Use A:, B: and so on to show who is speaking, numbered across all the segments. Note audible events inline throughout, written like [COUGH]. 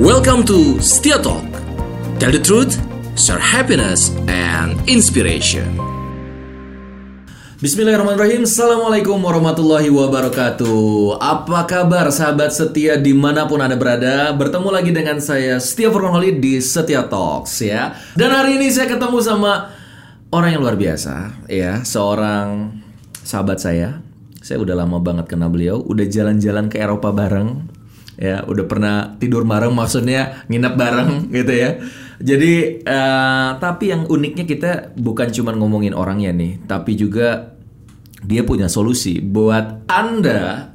A: Welcome to Setia Talk. Tell the truth, share happiness and inspiration. Bismillahirrahmanirrahim Assalamualaikum warahmatullahi wabarakatuh Apa kabar sahabat setia dimanapun anda berada Bertemu lagi dengan saya Setia Furkonholi di Setia Talks ya Dan hari ini saya ketemu sama orang yang luar biasa ya Seorang sahabat saya Saya udah lama banget kenal beliau Udah jalan-jalan ke Eropa bareng ya udah pernah tidur bareng maksudnya nginep bareng gitu ya jadi eh, tapi yang uniknya kita bukan cuma ngomongin orangnya nih tapi juga dia punya solusi buat anda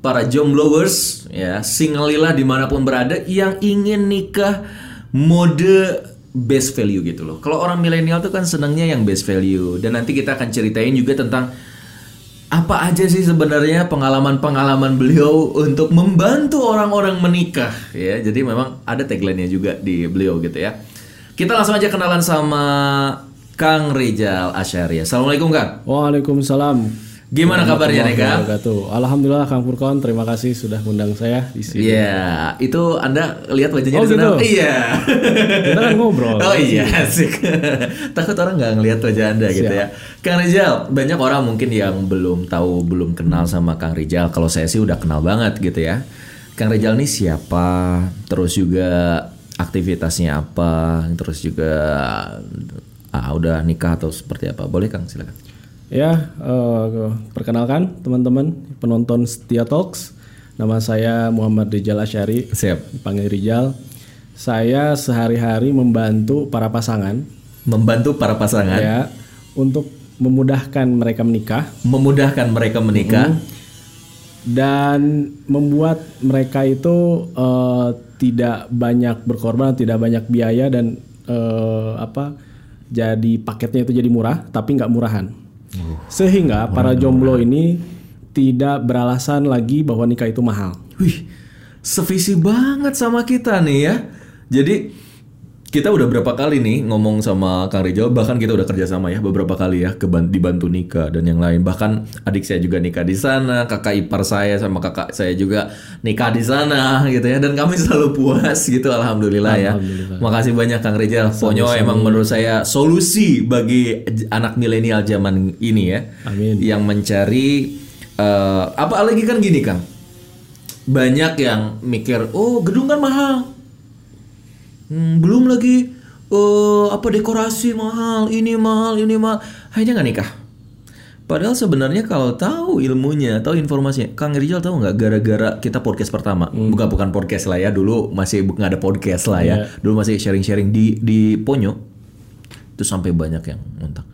A: para jombloers ya singlilah dimanapun berada yang ingin nikah mode best value gitu loh kalau orang milenial tuh kan senangnya yang best value dan nanti kita akan ceritain juga tentang apa aja sih sebenarnya pengalaman-pengalaman beliau untuk membantu orang-orang menikah ya jadi memang ada tagline-nya juga di beliau gitu ya kita langsung aja kenalan sama Kang Rizal Asyari Assalamualaikum Kang
B: Waalaikumsalam.
A: gimana kabarnya nih Kang
B: Wabarakatuh. Alhamdulillah Kang Furkon, terima kasih sudah mengundang saya di sini.
A: Iya itu anda lihat wajahnya
B: Oh,
A: di sana
B: gitu?
A: iya
B: Kita kan ngobrol.
A: [LAUGHS] Oh iya asik [LAUGHS] Takut orang nggak ngelihat wajah anda gitu ya Kang Rizal banyak orang mungkin yang belum tahu Belum kenal sama Kang Rizal Kalau saya sih udah kenal banget gitu ya Kang Rizal ini siapa Terus juga aktivitasnya apa Terus juga ah, udah nikah atau seperti apa Boleh Kang silakan
B: Ya, eh, perkenalkan teman-teman penonton Setia Talks. Nama saya Muhammad Rijal Asyari,
A: Siap
B: dipanggil Rijal. Saya sehari-hari membantu para pasangan
A: Membantu para pasangan
B: ya untuk memudahkan mereka menikah
A: Memudahkan mereka menikah
B: dan membuat mereka itu eh, tidak banyak berkorban, tidak banyak biaya dan eh, apa jadi paketnya itu jadi murah tapi nggak murahan. Uh, Sehingga para jomblo ini tidak beralasan lagi bahwa nikah itu mahal.
A: Wih, sevisi banget sama kita nih ya. Jadi kita udah berapa kali nih ngomong sama Kang Rizal, bahkan kita udah kerjasama ya beberapa kali ya keban- dibantu nikah dan yang lain. Bahkan adik saya juga nikah di sana, kakak ipar saya sama kakak saya juga nikah di sana gitu ya. Dan kami selalu puas gitu, alhamdulillah, ya. Makasih banyak Kang Rizal. Ponyo emang menurut saya solusi bagi j- anak milenial zaman ini ya,
B: Amin.
A: yang mencari eh, apa lagi kan gini Kang banyak yang mikir oh gedung kan mahal Hmm, belum lagi eh apa dekorasi mahal ini mahal ini mahal akhirnya nggak nikah padahal sebenarnya kalau tahu ilmunya tahu informasinya Kang Rizal tahu nggak gara-gara kita podcast pertama bukan bukan podcast lah ya dulu masih bu- nggak ada podcast lah ya dulu masih sharing-sharing di di Ponyo itu sampai banyak yang ngontak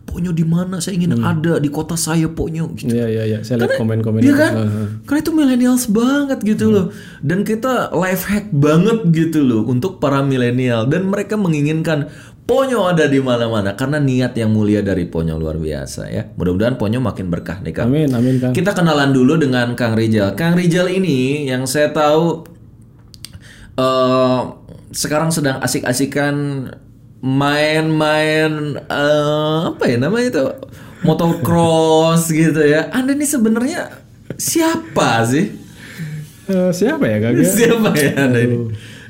A: Ponyo di mana saya ingin ada di kota saya Ponyo gitu
B: Iya iya iya, saya lihat komen-komen.
A: Iya
B: itu.
A: kan?
B: Heeh.
A: Karena itu millennials banget gitu loh. Dan kita life hack banget gitu loh untuk para milenial dan mereka menginginkan Ponyo ada di mana-mana karena niat yang mulia dari Ponyo luar biasa ya. Mudah-mudahan Ponyo makin berkah nih Kang.
B: Amin amin Kang.
A: Kita kenalan dulu dengan Kang Rizal. Kang Rizal ini yang saya tahu eh sekarang sedang asik-asikan main-main eh, apa ya namanya itu motocross gitu ya. Anda ini sebenarnya siapa sih?
B: Eh, siapa ya Kang?
A: [LAUGHS] Siapa ya Anda ini?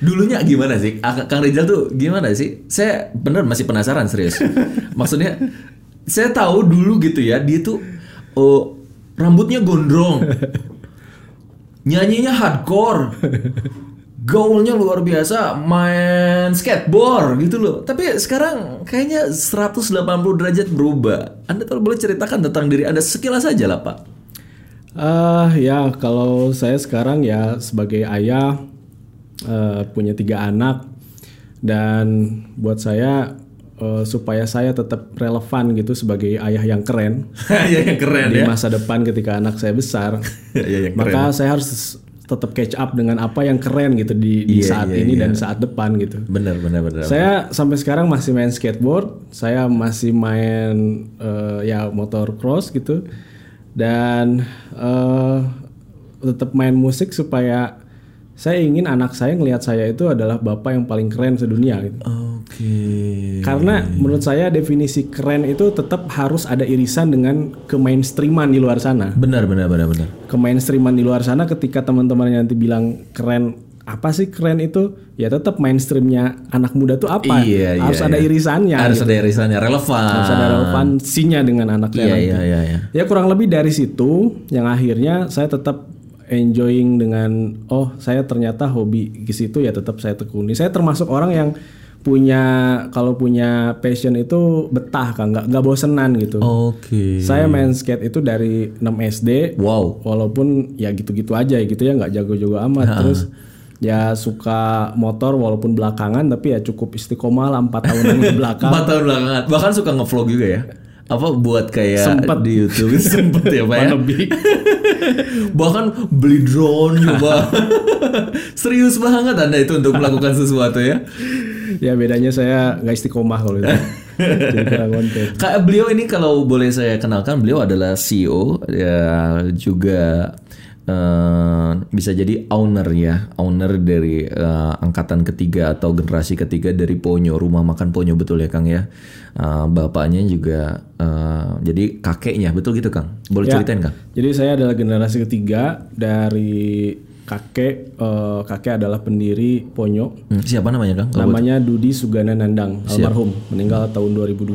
A: Dulunya gimana sih? Ah, Kang Rizal tuh gimana sih? Saya bener masih penasaran [LAUGHS] serius. Maksudnya saya tahu dulu gitu ya, dia tuh oh, rambutnya [LAUGHS] gondrong. Nyanyinya hardcore. Gaulnya luar biasa, main skateboard gitu loh. Tapi sekarang kayaknya 180 derajat berubah. Anda kalau boleh ceritakan tentang diri Anda sekilas saja lah, Pak. [LAUGHS]
B: Ah ya kalau saya sekarang ya sebagai ayah eh, punya tiga anak dan buat saya eh, supaya saya tetap relevan gitu sebagai ayah yang keren
A: ya yang keren
B: di
A: ya.
B: masa depan ketika anak saya besar
A: ya [LAUGHS] yang keren.
B: maka saya harus tetap catch up dengan apa yang keren gitu di, di
A: Iya,
B: saat ini dan saat depan gitu
A: Bener bener bener.
B: saya sampai sekarang masih main skateboard, saya masih main eh, ya motor cross gitu, dan eh, tetap main musik supaya saya ingin anak saya ngelihat saya itu adalah bapak yang paling keren sedunia. Gitu.
A: Oke.
B: Karena menurut saya definisi keren itu tetap harus ada irisan dengan kemainstreaman di luar sana.
A: Benar, benar, benar, benar.
B: Kemainstreaman di luar sana ketika teman-teman nanti bilang keren apa sih keren itu? Ya tetap mainstreamnya anak muda tuh apa?
A: Iya, iya,
B: harus ada
A: iya.
B: irisannya.
A: harus
B: gitu.
A: ada irisannya relevan.
B: harus ada relevansinya dengan anaknya.
A: Iya
B: nanti.
A: iya iya. iya.
B: Ya kurang lebih dari situ yang akhirnya saya tetap enjoying dengan oh saya ternyata hobi di situ ya tetap saya tekuni. Saya termasuk orang yang punya kalau punya passion itu betah kan nggak nggak bosenan gitu.
A: Oh, Oke.
B: Saya main skate itu dari 6 SD
A: Wow.
B: walaupun ya gitu-gitu aja gitu ya nggak jago-jago amat terus ya suka motor walaupun belakangan tapi ya cukup istiqomah lah 4 tahunan ke
A: [LAUGHS]
B: belakang.
A: Empat tahun belakangan. Bahkan suka ngevlog juga ya. Apa buat kayak
B: Sempet.
A: di
B: [LAUGHS]
A: YouTube sempet ya pak ya. Bahkan beli drone
B: [LAUGHS]
A: juga. Serius banget anda itu untuk melakukan sesuatu ya.
B: ya bedanya saya nggak istiqomah kalau itu. Jadi kurang konten.
A: Kak, beliau ini kalau boleh saya kenalkan, beliau adalah CEO ya juga eh, bisa jadi owner ya, owner dari eh, angkatan ketiga atau generasi ketiga dari Ponyo, rumah makan Ponyo betul ya Kang ya. Eh, bapaknya juga eh, jadi kakeknya, betul gitu Kang? Boleh
B: Ya.
A: ceritain Kang?
B: Jadi saya adalah generasi ketiga dari kakek. Eh, kakek adalah pendiri Ponyo.
A: Hmm, siapa namanya Kang?
B: Namanya Dudi Sugana Nandang, almarhum. Meninggal tahun 2002. Eh,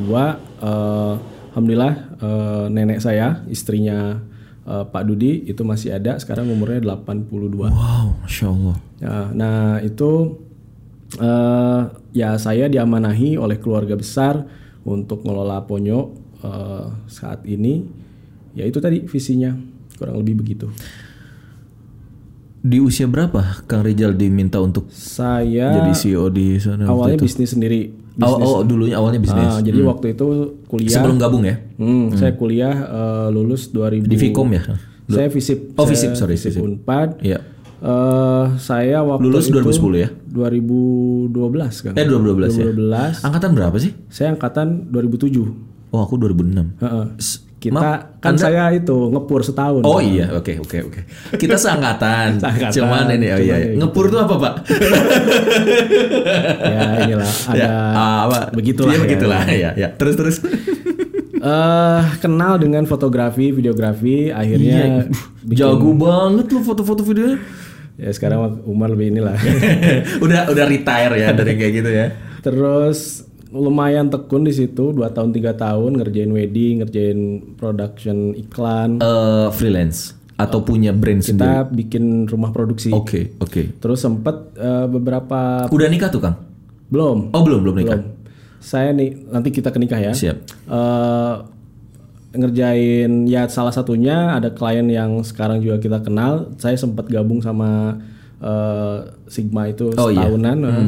B: Alhamdulillah eh, nenek saya, istrinya eh, Pak Dudi itu masih ada. Sekarang umurnya 82.
A: Wow, Masya Allah.
B: Ya, nah itu eh ya saya diamanahi oleh keluarga besar untuk ngelola Ponyo eh, saat ini. Ya itu tadi visinya kurang lebih begitu.
A: Di usia berapa Kang Rizal diminta untuk
B: Saya
A: jadi CEO di sana?
B: awalnya bisnis sendiri.
A: Oh, oh, dulunya awalnya Eh, bisnis. Hmm.
B: Ah, jadi waktu itu kuliah,
A: Sebelum gabung ya?
B: Hmm, saya kuliah eh, lulus 2000.
A: Di Vicom ya?
B: Saya visip.
A: Oh,
B: saya
A: Visip, sorry,
B: visip
A: Visip.
B: Unpad.
A: Iya.
B: Eh, saya waktu
A: Lulus
B: itu
A: 2010 ya?
B: 2012 kan.
A: Eh 2012 ya.
B: 2012
A: Angkatan berapa sih?
B: Saya angkatan 2007.
A: Oh aku 2006.
B: Heeh.
A: S-
B: Kita kan saya itu ngepur setahun.
A: Oh iya, oke oke oke. Kita seangkatan.
B: Seangkatan,
A: Cuman ini oh iya. iya.
B: cuman ya gitu.
A: Ngepur tuh apa, Pak?
B: [LAUGHS] ya
A: [LAUGHS]
B: inilah ada
A: ya, ah, apa? Iya,
B: begitulah ya.
A: begitulah. [LAUGHS] Ya, ya. Terus terus.
B: eh, kenal dengan fotografi, videografi, akhirnya
A: Iya. Jago banget lu foto-foto videonya. Iya.
B: ya sekarang umur lebih inilah.
A: [LAUGHS] udah udah retire ya dari kayak gitu ya.
B: Terus lumayan tekun di situ 2 tahun tiga tahun ngerjain wedding, ngerjain production iklan,
A: Eh freelance atau punya brand sendiri.
B: kita bikin rumah produksi.
A: Oke, oke.
B: Terus sempet eh, beberapa
A: Udah nikah tuh, Kang?
B: belum.
A: Oh, belum, belum nikah.
B: Saya nih nanti kita ke nikah ya.
A: Siap.
B: eh ngerjain ya salah satunya ada klien yang sekarang juga kita kenal saya sempat gabung sama eh, Sigma itu
A: Oh, iya.
B: setahunan eh.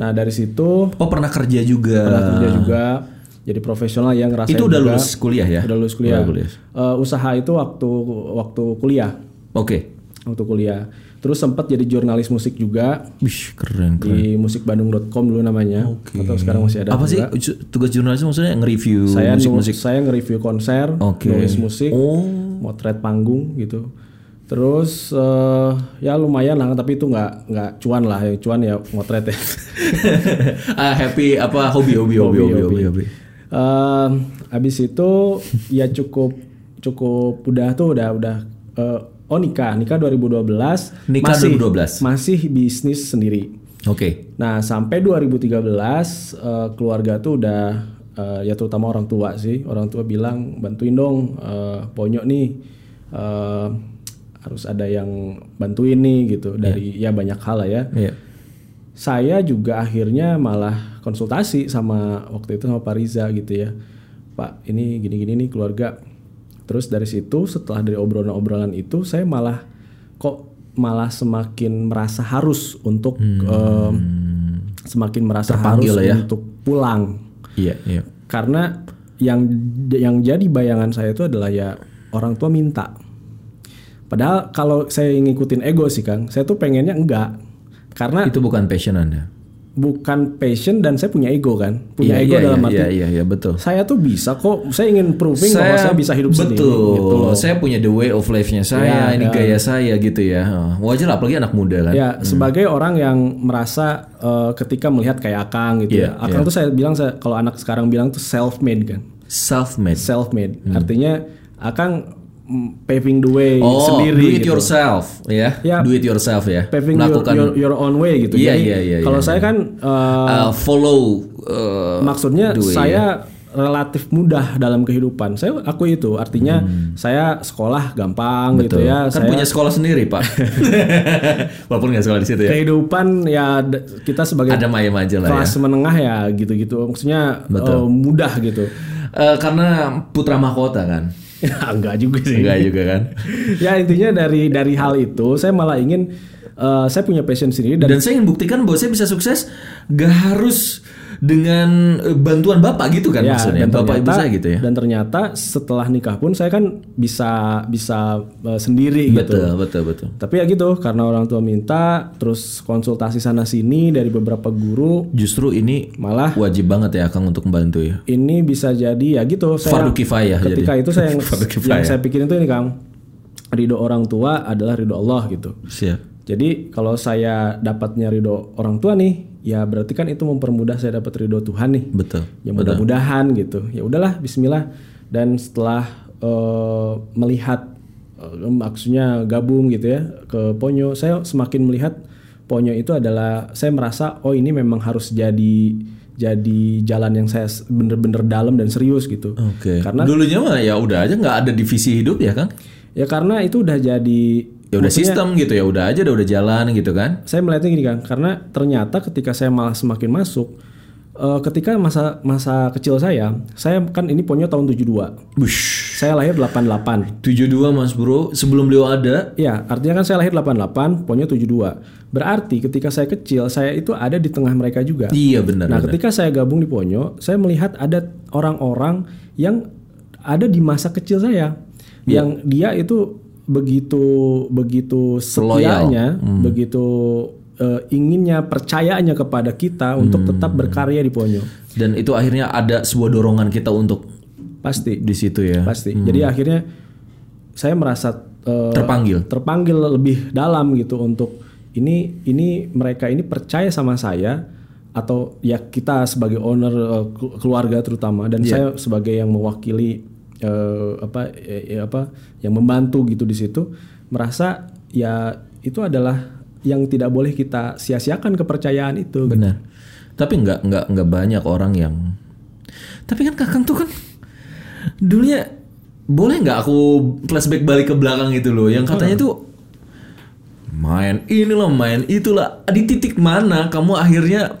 B: nah dari situ
A: Oh, pernah kerja juga.
B: pernah kerja juga jadi profesional yang ngerasain
A: Eh. Itu udah
B: juga.
A: lulus kuliah ya?
B: udah lulus kuliah,
A: Udah kuliah.
B: Eh, usaha itu waktu waktu kuliah
A: Oke.
B: waktu kuliah terus sempat jadi jurnalis musik juga
A: Wih, keren, keren.
B: di musikbandung.com dulu namanya atau sekarang masih ada
A: apa
B: atau
A: sih
B: enggak.
A: ju- tugas jurnalis maksudnya nge-review
B: saya
A: musik
B: nu-
A: musik
B: saya nge-review konser
A: Oke.
B: nulis musik [LAUGHS]
A: oh
B: motret panggung gitu terus eh, ya lumayan lah tapi itu nggak nggak cuan lah ya cuan ya motret ya [LAUGHS]
A: Ah, happy apa hobi hobi hobi hobi hobi, hobi.
B: Eh, abis itu ya cukup cukup udah tuh udah udah eh, oh nikah nikah 2012
A: Nikah
B: masih
A: 2012.
B: masih bisnis sendiri
A: oke
B: nah sampai 2013 eh, keluarga tuh udah eh, ya terutama orang tua sih orang tua bilang bantuin dong eh, ponyok nih eh, harus ada yang bantuin nih gitu dari ya banyak hal lah ya
A: Iya.
B: saya juga akhirnya malah konsultasi sama waktu itu sama Pak Riza gitu ya Pak ini gini-gini nih keluarga terus dari situ setelah dari obrolan-obrolan itu saya malah kok malah semakin merasa harus untuk em, semakin merasa
A: Hmm. Terpanggil
B: harus
A: ya.
B: untuk pulang
A: iya iya
B: karena yang yang jadi bayangan saya itu adalah ya orang tua minta padahal kalau saya ngikutin ego sih Kang saya tuh pengennya enggak karena
A: itu bukan passion anda
B: bukan passion dan saya punya ego kan punya
A: iya,
B: ego
A: iya,
B: dalam
A: iya,
B: arti
A: iya iya iya, betul
B: saya tuh bisa kok saya ingin proving bahwa saya bisa hidup
A: betul.
B: sendiri gitu loh.
A: Saya punya the way of life-nya saya,
B: Iya,
A: ini
B: iya.
A: gaya saya gitu ya. Oh, Wajar lah, apalagi anak muda kan.
B: ya sebagai orang yang merasa eh, ketika melihat kayak Akang gitu
A: Iya,
B: ya Akang tuh saya bilang saya kalau anak sekarang bilang tuh self made kan
A: Self made.
B: self made artinya Akang mm, paving the way
A: Oh,
B: sendiri
A: do it
B: gitu.
A: yourself ya.
B: Ya.
A: Do it yourself ya.
B: paving your,
A: Melakukan
B: your, your own way gitu.
A: Iya,
B: Jadi
A: iya, iya,
B: kalau
A: iya,
B: saya kan eh,
A: uh, follow uh,
B: maksudnya
A: do it,
B: saya relatif mudah dalam kehidupan. Saya aku itu artinya saya sekolah gampang gitu
A: Hmm. betul.
B: ya.
A: Kan
B: saya
A: punya sekolah sendiri,
B: [LAUGHS]
A: Pak. Walaupun nggak sekolah di situ ya.
B: kehidupan ya d- kita sebagai
A: Ada mayem aja lah ya.
B: kelas menengah ya gitu-gitu. Maksudnya eh, mudah gitu. [LAUGHS]
A: Eh, karena putra mahkota kan.
B: Ya, enggak juga sih.
A: Enggak juga kan.
B: ya intinya dari dari hal itu saya malah ingin eh, saya punya passion sendiri dan
A: Dan saya ingin buktikan bahwa saya bisa sukses gak harus dengan eh, bantuan bapak gitu kan maksudnya.
B: ya, dan
A: Bapak ibu
B: ternyata-
A: saya gitu ya.
B: Dan ternyata setelah nikah pun saya kan bisa bisa eh, sendiri gitu.
A: Betul, betul, betul.
B: Tapi ya gitu karena orang tua minta terus konsultasi sana sini dari beberapa guru
A: Justru ini
B: malah
A: wajib banget ya Kang untuk membantu ya.
B: ini bisa jadi ya gitu saya
A: Fardu kifayah jadi.
B: ketika itu saya yang,
A: [LAUGHS] Fardu
B: yang
A: kifayah.
B: saya pikirin itu ini Kang ridho orang tua adalah ridho Allah gitu.
A: Siap.
B: Jadi kalau saya dapatnya ridho orang tua nih, ya berarti kan itu mempermudah saya dapat ridho Tuhan nih.
A: Betul.
B: Ya mudah-mudahan gitu. Ya udahlah, Bismillah. Dan setelah eh, melihat eh, maksudnya gabung gitu ya ke Ponyo, saya semakin melihat Ponyo itu adalah saya merasa oh ini memang harus jadi jadi jalan yang saya s- bener-bener dalam dan serius gitu.
A: Oke.
B: Karena-
A: Dulunya mah ya udah aja nggak ada divisi hidup ya Kang.
B: Ya karena itu udah jadi
A: Ya udah sistem gitu ya udah aja udah udah jalan gitu kan.
B: saya melihatnya gini kan karena ternyata ketika saya malah semakin masuk eh, ketika masa masa kecil saya saya kan ini punya tahun 72
A: Bush.
B: saya lahir 88
A: 72 Mas Bro, sebelum beliau ada
B: ya artinya kan saya lahir 88 punya 72 berarti ketika saya kecil saya itu ada di tengah mereka juga
A: Iya benar.
B: nah ketika saya gabung di Ponyo saya melihat ada orang-orang yang ada di masa kecil saya yang dia itu begitu begitu setianya begitu eh, inginnya percayanya kepada kita untuk tetap berkarya di Ponyo
A: Dan itu akhirnya ada sebuah dorongan kita untuk
B: pasti
A: di situ ya.
B: pasti jadi akhirnya saya merasa eh,
A: Terpanggil.
B: terpanggil lebih dalam gitu untuk ini ini mereka ini percaya sama saya atau ya kita sebagai owner eh, kelu- keluarga terutama
A: Iya.
B: dan saya sebagai yang mewakili eh, apa eh, eh, apa yang membantu gitu di situ merasa ya itu adalah yang tidak boleh kita sia-siakan kepercayaan itu
A: Benar. Tapi nggak nggak nggak banyak orang yang. Tapi kan kakang tuh kan dulunya boleh nggak aku flashback balik ke belakang gitu loh, yang katanya tuh main inilah main itulah di titik mana kamu akhirnya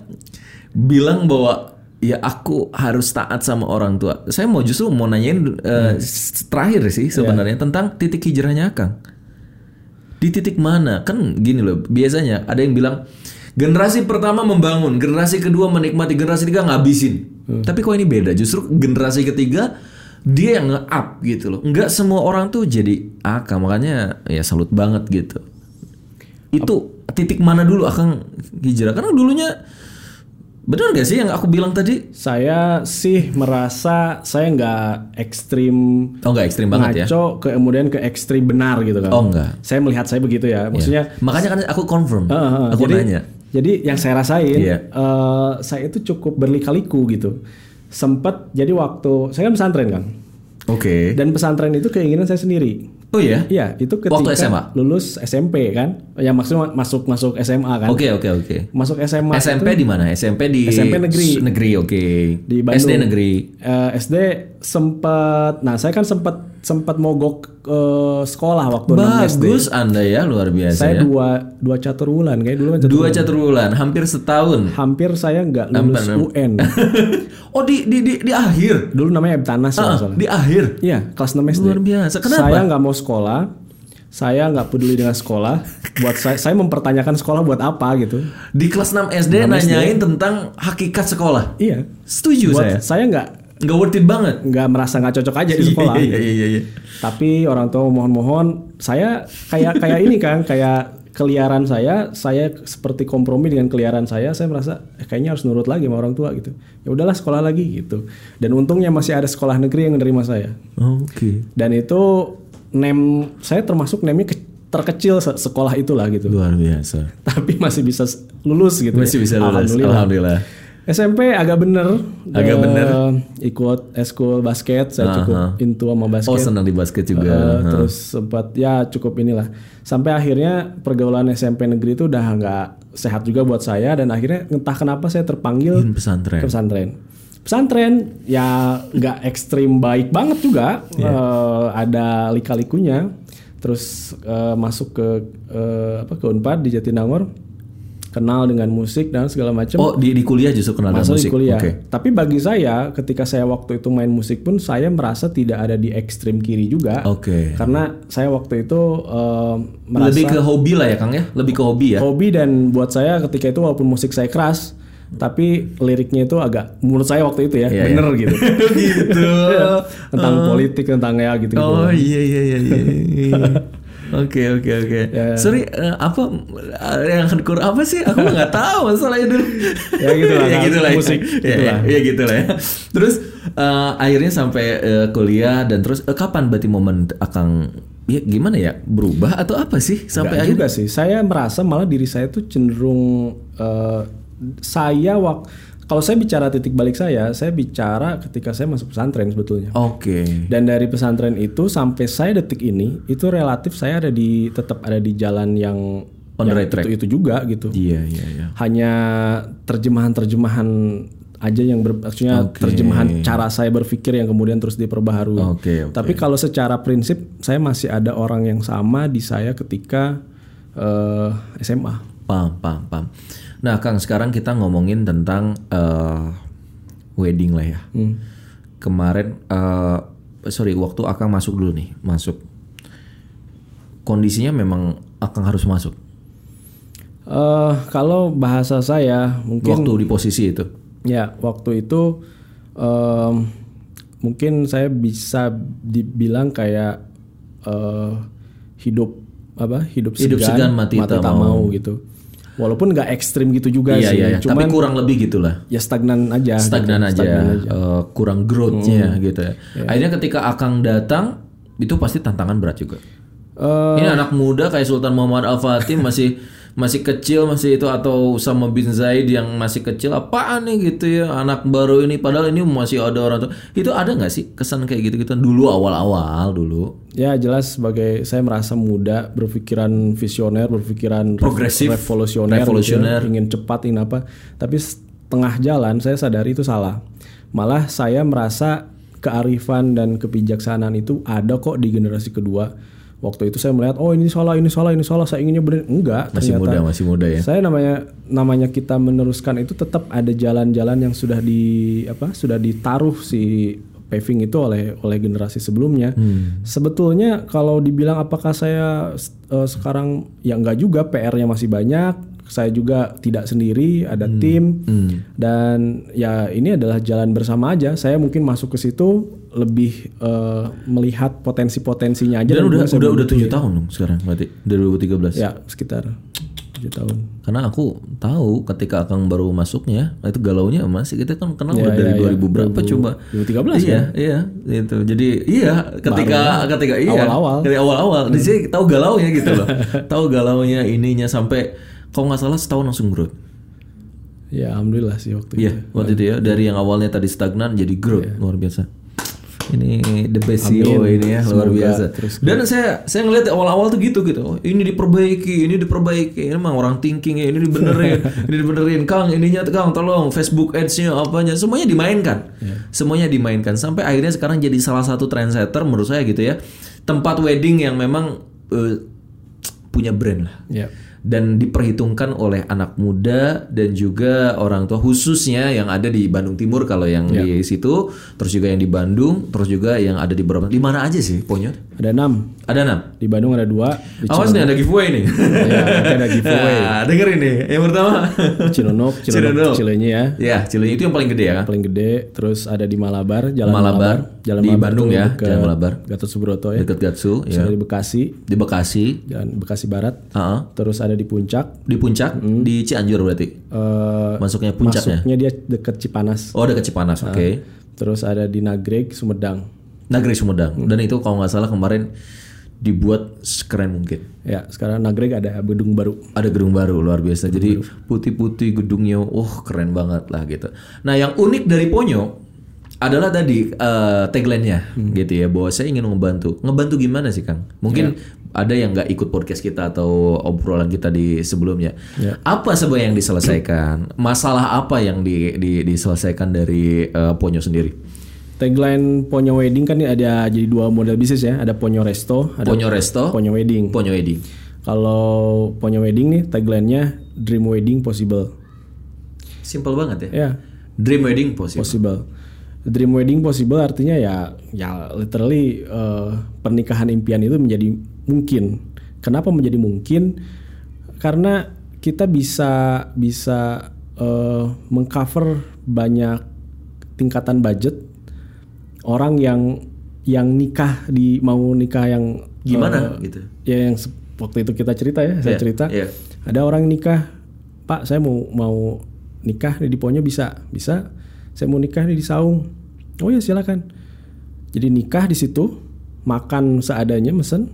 A: bilang bahwa ya aku harus taat sama orang tua. Saya mau justru mau nanyain eh, s- terakhir sih sebenarnya tentang titik hijrahnya Kang di titik mana kan gini loh biasanya ada yang bilang generasi pertama membangun generasi kedua menikmati generasi ketiga ngabisin
B: Hmm.
A: tapi kok ini beda justru generasi ketiga dia yang nge-up gitu loh nggak semua orang tuh jadi akang makanya ya salut banget gitu itu titik mana dulu akang hijrah karena dulunya benar gak sih yang aku bilang tadi
B: saya sih merasa saya nggak ekstrim
A: oh nggak ekstrim banget ya
B: ngaco ke- kemudian ke ekstrim benar gitu kan.
A: oh enggak
B: Saya melihat saya begitu ya. Maksudnya
A: makanya kan aku confirm
B: eh, eh,
A: aku
B: jadi
A: nanya
B: jadi yang saya rasain
A: Iya.
B: eh, saya itu cukup berlika-liku gitu. Sempet jadi waktu saya kan pesantren kan.
A: oke
B: Dan pesantren itu keinginan saya sendiri.
A: oh ya
B: Iya, itu ketika
A: Waktu SMA?
B: lulus SMP kan. Ya maksudnya masuk masuk SMA kan.
A: oke oke oke
B: Masuk SMA
A: SMP di mana? SMP di
B: SMP
A: S-
B: negeri.
A: Negeri, oke.
B: Di Bandung.
A: SD negeri.
B: eh, SD sempat nah saya kan sempat sempat mogok eh, sekolah waktu enam SD.
A: Bagus Anda ya, luar biasa ya.
B: saya
A: Nah.
B: dua dua catur bulan kayak dulu kan catur
A: Dua catur bulan, hampir setahun. [LAUGHS]
B: hampir saya nggak lulus UN
A: oh, di di di, di akhir.
B: dulu namanya Ebtanas
A: Ah,
B: kalau nggak salah
A: di akhir.
B: iya kelas 6 SD
A: Luar biasa. Kenapa?
B: saya nggak mau sekolah saya nggak peduli dengan sekolah buat saya saya mempertanyakan sekolah buat apa gitu
A: Di kelas 6 SD nanyain tentang hakikat sekolah.
B: iya
A: Setuju
B: buat
A: saya.
B: saya nggak
A: Nggak worth it banget.
B: nggak merasa nggak cocok aja di sekolah
A: Iya, iya, iya, iya.
B: tapi orang tua mohon-mohon saya kayak kayak ini kan kayak keliaran saya saya seperti kompromi dengan keliaran saya saya merasa eh, kayaknya harus nurut lagi sama orang tua gitu ya udahlah sekolah lagi gitu dan untungnya masih ada sekolah negeri yang menerima saya
A: Oke.
B: dan itu nem saya termasuk nemnya ke- terkecil se- sekolah itulah gitu [LAUGHS]
A: Luar biasa.
B: tapi masih bisa s- lulus gitu
A: Masih bisa lulus.
B: Alhamdulillah.
A: Alhamdulillah.
B: SMP agak bener.
A: Agak
B: Eh,
A: bener.
B: Ikut eskul basket, saya cukup
A: Aha.
B: into sama basket.
A: Oh senang di basket juga.
B: Eh,
A: Hah.
B: terus sempat ya cukup inilah sampai akhirnya pergaulan SMP negeri itu udah nggak sehat juga buat saya dan akhirnya entah kenapa saya terpanggil
A: Bikin pesantren.
B: ke pesantren pesantren ya nggak ekstrim baik banget juga
A: Iya.
B: Eh, ada lika-likunya terus eh, masuk ke eh, apa ke unpad di Jatinangor kenal dengan musik dan segala macam
A: Oh di, di kuliah justru kenal dengan
B: Masuk di
A: musik.
B: kuliah.
A: Oke.
B: Tapi bagi saya, ketika saya waktu itu main musik pun saya merasa tidak ada di ekstrim kiri juga,
A: Oke.
B: karena saya waktu itu em, merasa Oh,
A: Lebih ke hobi lah ya Kang ya. Lebih ke hobi ya.
B: hobi dan buat saya ketika itu walaupun musik saya keras, tapi liriknya itu agak menurut saya waktu itu ya
A: Iya,
B: bener gitu
A: [LAUGHS] gitu.
B: tentang politik tentang ya
A: Eh,
B: gitu.
A: Oh iya iya iya.
B: [LAUGHS]
A: iya, iya. Oke oke oke.
B: Ya.
A: Sorry eh, apa eh, yang hardcore apa sih? Aku mah nggak tahu masalahnya dulu.
B: [LAUGHS] Ya, gitu lah,
A: ya
B: Kang.
A: gitu lah. ya.
B: Musik,
A: Ya,
B: gitu
A: ya,
B: lah.
A: ya, gitu lah ya. Terus eh, akhirnya sampai eh, kuliah dan terus eh, kapan berarti momen akang ya gimana ya berubah atau apa sih sampai
B: Nggak
A: akhir?
B: juga sih. Saya merasa malah diri saya tuh cenderung eh, saya wak kalau saya bicara titik balik saya, saya bicara ketika saya masuk pesantren sebetulnya.
A: Oke.
B: Dan dari pesantren itu sampai saya detik ini itu relatif saya ada di tetap ada di jalan yang
A: On the right track.
B: itu itu juga gitu.
A: Iya iya iya.
B: Hanya terjemahan-terjemahan aja yang ber, maksudnya terjemahan cara saya berpikir yang kemudian terus diperbaharui.
A: Oke, oke.
B: Tapi kalau secara prinsip saya masih ada orang yang sama di saya ketika eh, SMA.
A: Paham, paham, paham. Nah, Kang, sekarang kita ngomongin tentang eh, wedding lah ya.
B: Hmm.
A: Kemarin, eh, sorry, waktu Akang masuk dulu nih, masuk. Kondisinya memang Akang harus masuk.
B: Eh, kalau bahasa saya mungkin
A: Waktu di posisi itu.
B: Ya, waktu itu em, mungkin saya bisa dibilang kayak eh, hidup apa? Hidup segan,
A: Hidup segan, mati tak
B: tak mau. gitu. Walaupun nggak ekstrim gitu juga
A: Iya,
B: sih,
A: iya, iya. Tapi
B: cuman
A: kurang lebih gitulah.
B: ya stagnan aja. gitu.
A: Stagnan aja, eh, kurang growth-nya gitu ya. Akhirnya ketika Akang datang, itu pasti tantangan berat juga.
B: Eh,
A: Ini anak muda kayak Sultan Muhammad Al Fatih masih [LAUGHS] masih kecil masih itu atau Usama bin Zaid yang masih kecil apaan nih gitu ya anak baru ini padahal ini masih ada orang tua itu ada nggak sih kesan kayak gitu gitu dulu awal-awal dulu
B: ya jelas sebagai saya merasa muda, berpikiran visioner, berpikiran rev-
A: Progresif,
B: revolusioner, gitu
A: revolusioner.
B: ya, ingin cepat, ingin apa. Tapi setengah jalan saya sadari itu salah. Malah saya merasa kearifan dan kebijaksanaan itu ada kok di generasi kedua. Waktu itu saya melihat, oh ini salah, ini salah, ini salah. Saya inginnya benar, enggak.
A: masih
B: ternyata
A: muda masih muda ya
B: saya namanya namanya kita meneruskan itu tetap ada jalan-jalan yang sudah di apa sudah ditaruh si paving itu oleh oleh generasi sebelumnya.
A: Hmm.
B: Sebetulnya kalau dibilang apakah saya eh, sekarang ya enggak juga PR-nya masih banyak. Saya juga tidak sendiri, ada
A: Hmm.
B: tim dan ya ini adalah jalan bersama aja. Saya mungkin masuk ke situ lebih eh, melihat potensi-potensinya aja.
A: dan udah
B: kemudian saya
A: udah udah
B: bentuk.
A: tujuh tahun dong sekarang berarti dari 2013
B: ya sekitar 7 tahun.
A: karena aku tahu ketika Akang baru masuknya nah itu galaunya masih kita kan kenal udah
B: Ya,
A: dari
B: ya, ya.
A: 2000 berapa coba
B: 2013
A: iya iya gitu jadi iya ketika ketika iya
B: Awal-awal.
A: dari awal-awal di sini tahu galaunya gitu loh tahu galaunya ininya sampai kalau nggak salah setahun langsung growth
B: Ya alhamdulillah sih waktu itu.
A: iya waktu itu ya dari yang awalnya tadi stagnan jadi growth luar biasa ini the best CEO ini ya luar biasa dan saya saya ngeliat awal-awal tuh gitu gitu Oh, ini diperbaiki ini diperbaiki ini emang orang thinking ya ini dibenerin ini dibenerin Kang ininya Kang tolong Facebook ads-nya apanya semuanya dimainkan semuanya dimainkan sampai akhirnya sekarang jadi salah satu trendsetter menurut saya gitu ya tempat wedding yang memang eh, punya brand lah
B: Ya.
A: dan diperhitungkan oleh anak muda dan juga orang tua khususnya yang ada di Bandung Timur kalau yang
B: Ya.
A: di situ terus juga yang di Bandung terus juga yang ada di beberapa di mana aja sih Ponyo
B: Ada enam
A: ada enam
B: di Bandung ada dua di
A: awas nih ada giveaway nih
B: Iya, nanti
A: [LAUGHS]
B: ada giveaway.
A: nah, dengerin nih yang pertama
B: Cilunuk,
A: Cilunuk.
B: Cilunuk Cilenyi ya
A: ya Cilenyi itu yang paling gede ya kan
B: paling gede. Terus ada di Malabar, Jalan
A: Malabar,
B: Malabar, Jalan
A: di
B: Malabar
A: Bandung
B: tuh
A: ya,
B: dekat
A: Jalan Malabar.
B: Gatot Subroto ya.
A: dekat Gatsu
B: Terus
A: ya
B: ada di Bekasi,
A: di Bekasi
B: Jalan Bekasi Barat.
A: Heeh.
B: Terus ada di Puncak.
A: di Puncak
B: Hmm.
A: di Cianjur berarti
B: eh,
A: masuknya puncaknya
B: masuknya dia dekat Cipanas.
A: oh dekat Cipanas
B: Ah.
A: oke
B: Terus ada di Nagreg, Sumedang.
A: Hmm. Negeri Sumedang dan itu kalau nggak salah kemarin dibuat sekeren mungkin.
B: Ya, sekarang Nagreg ada gedung baru.
A: Ada gedung baru luar biasa. Jadi putih-putih gedungnya, oh keren banget lah gitu. Nah yang unik dari Ponyo adalah tadi eh, tagline-nya gitu ya bahwa saya ingin ngebantu. Ngebantu gimana sih Kang? Mungkin ada yang nggak ikut podcast kita atau obrolan kita di sebelumnya. Apa sebenarnya yang diselesaikan? Masalah apa yang di, di- diselesaikan dari eh, Ponyo sendiri?
B: Tagline Ponyo Wedding kan ada jadi dua model bisnis ya, ada Ponyo Resto, ada
A: Ponyo Resto,
B: Ponyo Wedding.
A: Ponyo Wedding.
B: Kalau Ponyo Wedding nih tagline-nya Dream Wedding Possible.
A: Simple banget ya.
B: Ya,
A: Dream wedding possible.
B: possible. Dream Wedding Possible artinya ya ya literally eh, pernikahan impian itu menjadi mungkin. Kenapa menjadi mungkin? Karena kita bisa bisa eh, mengcover banyak tingkatan budget orang yang yang nikah di mau nikah yang
A: Gimana gitu?
B: ya yang se- waktu itu kita cerita ya saya
A: Iya,
B: cerita
A: iya.
B: ada orang nikah pak saya mau mau nikah nih di Ponyo bisa bisa saya mau nikah nih di Saung oh ya silakan jadi nikah di situ makan seadanya mesen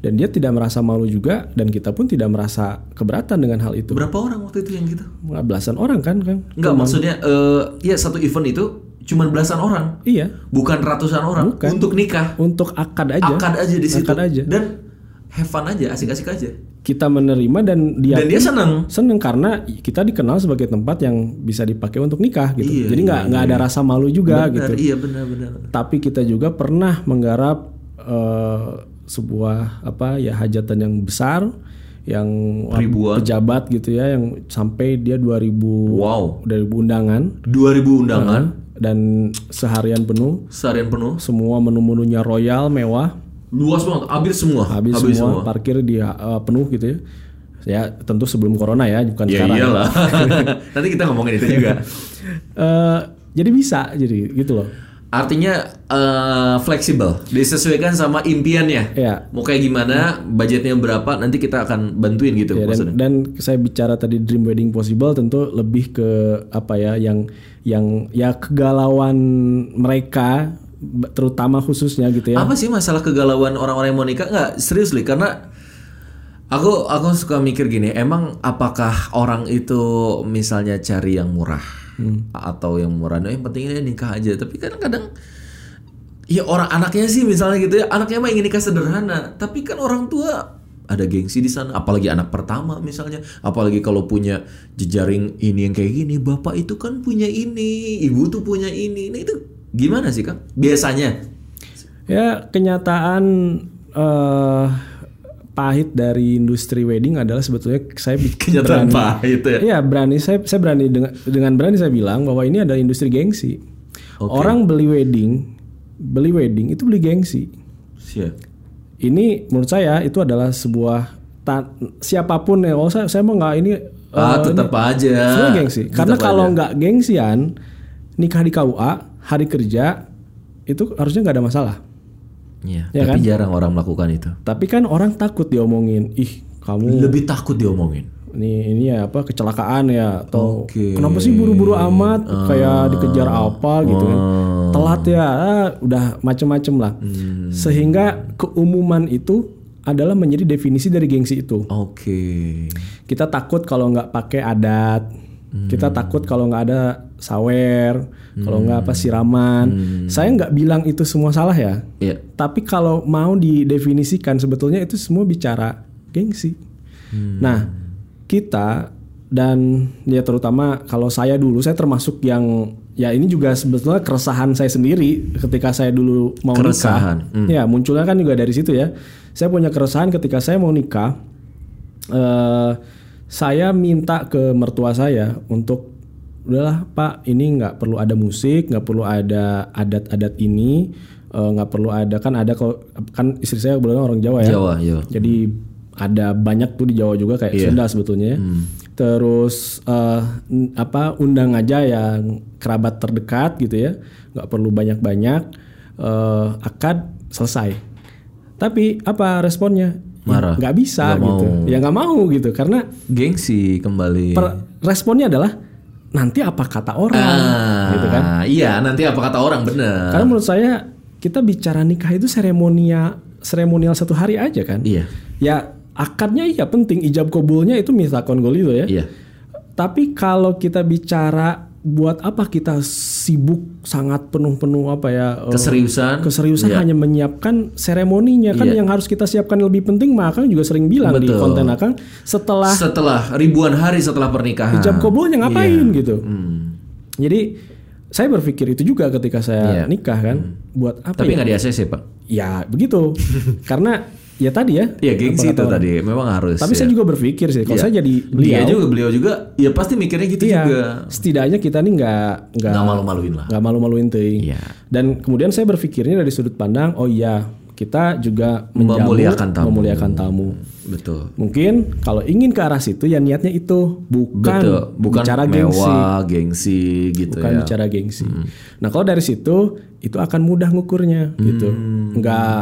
B: dan dia tidak merasa malu juga dan kita pun tidak merasa keberatan dengan hal itu
A: Berapa orang waktu itu yang gitu?
B: belasan orang kan kan
A: Enggak, maksudnya eh ya satu event itu cuman belasan orang,
B: iya
A: bukan ratusan orang
B: Bukan.
A: untuk nikah.
B: untuk akad aja
A: Akad aja di situ.
B: Akad aja.
A: Dan have fun aja, asik-asik aja.
B: kita menerima dan dia
A: Dan dia seneng.
B: seneng karena kita dikenal sebagai tempat yang bisa dipakai untuk nikah gitu
A: Iya,
B: jadi nggak nggak ada rasa malu juga gitu
A: Benar, iya benar-benar.
B: tapi kita juga pernah menggarap eh, sebuah apa ya hajatan yang besar yang wah,
A: Ribuan.
B: pejabat gitu ya yang sampai dia 2000
A: Wow,
B: 2000 undangan
A: 2000 undangan,
B: dan seharian penuh
A: seharian penuh,
B: semua menu-menunya royal mewah
A: luas banget, habis semua,
B: habis, semua, parkir dia eh, penuh gitu ya ya tentu sebelum corona ya bukan
A: Ya
B: sekarang
A: iyalah. [LAUGHS] Nanti kita ngomongin itu
B: [LAUGHS]
A: juga.
B: Eh, jadi bisa jadi gitu loh
A: Artinya eh, fleksibel, disesuaikan sama impiannya.
B: ya
A: Mau kayak gimana, budgetnya berapa, nanti kita akan bantuin gitu
B: ya,
A: maksudnya.
B: dan, dan saya bicara tadi dream wedding possible tentu lebih ke apa ya yang yang ya kegalauan mereka b- terutama khususnya gitu ya
A: Apa sih masalah kegalauan orang-orang yang mau nikah? Nggak, serius Li, karena aku aku suka mikir gini, emang apakah orang itu misalnya cari yang murah atau yang murah? Nah, yang penting dia nikah aja. Tapi kan kadang ya orang anaknya sih misalnya gitu ya, anaknya mah ingin nikah sederhana, tapi kan orang tua ada gengsi di sana, apalagi anak pertama misalnya, apalagi kalau punya jejaring ini yang kayak gini, bapak itu kan punya ini, ibu tuh punya ini, nah itu gimana sih kang? Biasanya
B: ya kenyataan eh, pahit dari industri wedding adalah sebetulnya saya bi-
A: [LAUGHS] kenyataan
B: berani-
A: pahit ya.
B: Iya berani saya saya berani dengan dengan berani saya bilang bahwa ini adalah industri gengsi.
A: Oke.
B: Orang beli wedding, beli wedding itu beli gengsi.
A: Siap.
B: Ini menurut saya itu adalah sebuah ta- siapapun ya. Kalau saya saya mau nggak ini eh,
A: Ah, tetap aja.
B: sebenarnya gengsi. Karena
A: Tetap
B: kalau
A: aja.
B: nggak gengsian nikah di KUA hari kerja itu harusnya nggak ada masalah.
A: Iya,
B: Ya
A: tapi jarang orang melakukan itu.
B: Tapi kan orang takut diomongin, ih kamu
A: Lebih takut diomongin.
B: ini ini ya apa kecelakaan ya atau
A: Oke. Ah.
B: kenapa sih buru-buru amat kayak dikejar apa gitu kan telat ya ah, udah macem-macem lah
A: Hmm.
B: sehingga keumuman itu adalah menjadi definisi dari gengsi itu
A: Oke.
B: kita takut kalau nggak pakai adat kita takut kalau nggak ada sawer kalau nggak apa siraman saya nggak bilang itu semua salah ya
A: Iya.
B: tapi kalau mau didefinisikan sebetulnya itu semua bicara gengsi. Nah, kita dan ya terutama kalau saya dulu saya termasuk yang ya ini juga sebetulnya keresahan saya sendiri ketika saya dulu mau
A: Keresahan,
B: nikah. Ya, munculnya kan juga dari situ ya. Saya punya keresahan ketika saya mau nikah eh saya minta ke mertua saya untuk udahlah Pak, ini nggak perlu ada musik, nggak perlu ada adat-adat ini, eh, nggak perlu ada kan ada kalau kan istri saya kebetulan orang Jawa ya.
A: Jawa, Jawa.
B: Jadi ada banyak tuh di Jawa juga kayak
A: Iya.
B: Sunda sebetulnya. ya.
A: Hmm.
B: Terus eh, n- apa undang aja yang kerabat terdekat gitu ya, nggak perlu banyak-banyak eh, akad selesai. Tapi apa responnya? Ya,
A: Marah.
B: Nggak bisa
A: Nggak
B: gitu.
A: mau.
B: Ya nggak mau gitu karena
A: Gengsi kembali.
B: per- responnya adalah nanti apa kata orang.
A: ah,
B: gitu
A: Iya, nanti apa kata orang bener.
B: Karena menurut saya kita bicara nikah itu seremonia seremonial satu hari aja kan.
A: Iya.
B: Ya akadnya iya penting, ijab kabulnya itu misakon gol itu ya.
A: Iya.
B: Tapi kalau kita bicara buat apa kita sibuk sangat penuh-penuh apa ya eh,
A: Keseriusan.
B: keseriusan hanya menyiapkan seremoninya kan
A: Iya.
B: yang harus kita siapkan lebih penting mah Akang juga sering bilang di
A: Betul.
B: konten Akang setelah
A: Setelah ribuan hari setelah pernikahan. Iya.
B: jam kobulnya ngapain gitu.
A: Hmm.
B: Jadi saya berpikir itu juga ketika saya
A: Iya.
B: nikah kan buat apa
A: Tapi
B: ya?
A: nggak di ACC pak.
B: Ya
A: [LAUGHS]
B: begitu. Karena ya tadi ya.
A: Iya
B: apa
A: gengsi
B: kata
A: itu
B: orang.
A: tadi. Memang harus.
B: Tapi
A: ya.
B: saya juga berpikir sih kalau
A: Iya.
B: saya jadi
A: Dia
B: beliau
A: juga beliau juga. Ya pasti mikirnya gitu
B: iya,
A: juga.
B: setidaknya kita nih nggak nggak
A: Nggak malu-maluin lah.
B: nggak malu-maluin teuing.
A: Iya.
B: Dan kemudian saya berpikirnya dari sudut pandang oh iya kita juga menjamu,
A: Memuliakan tamu.
B: memuliakan tamu.
A: Betul.
B: Mungkin kalau ingin ke arah situ ya niatnya itu bukan
A: Betul. Bukan
B: Kan bicara gengsi.
A: mewah, ya. gengsi, gitu
B: bukan
A: ya.
B: bicara gengsi. Nah kalau dari situ itu akan mudah ngukurnya gitu,
A: Hmm.
B: nggak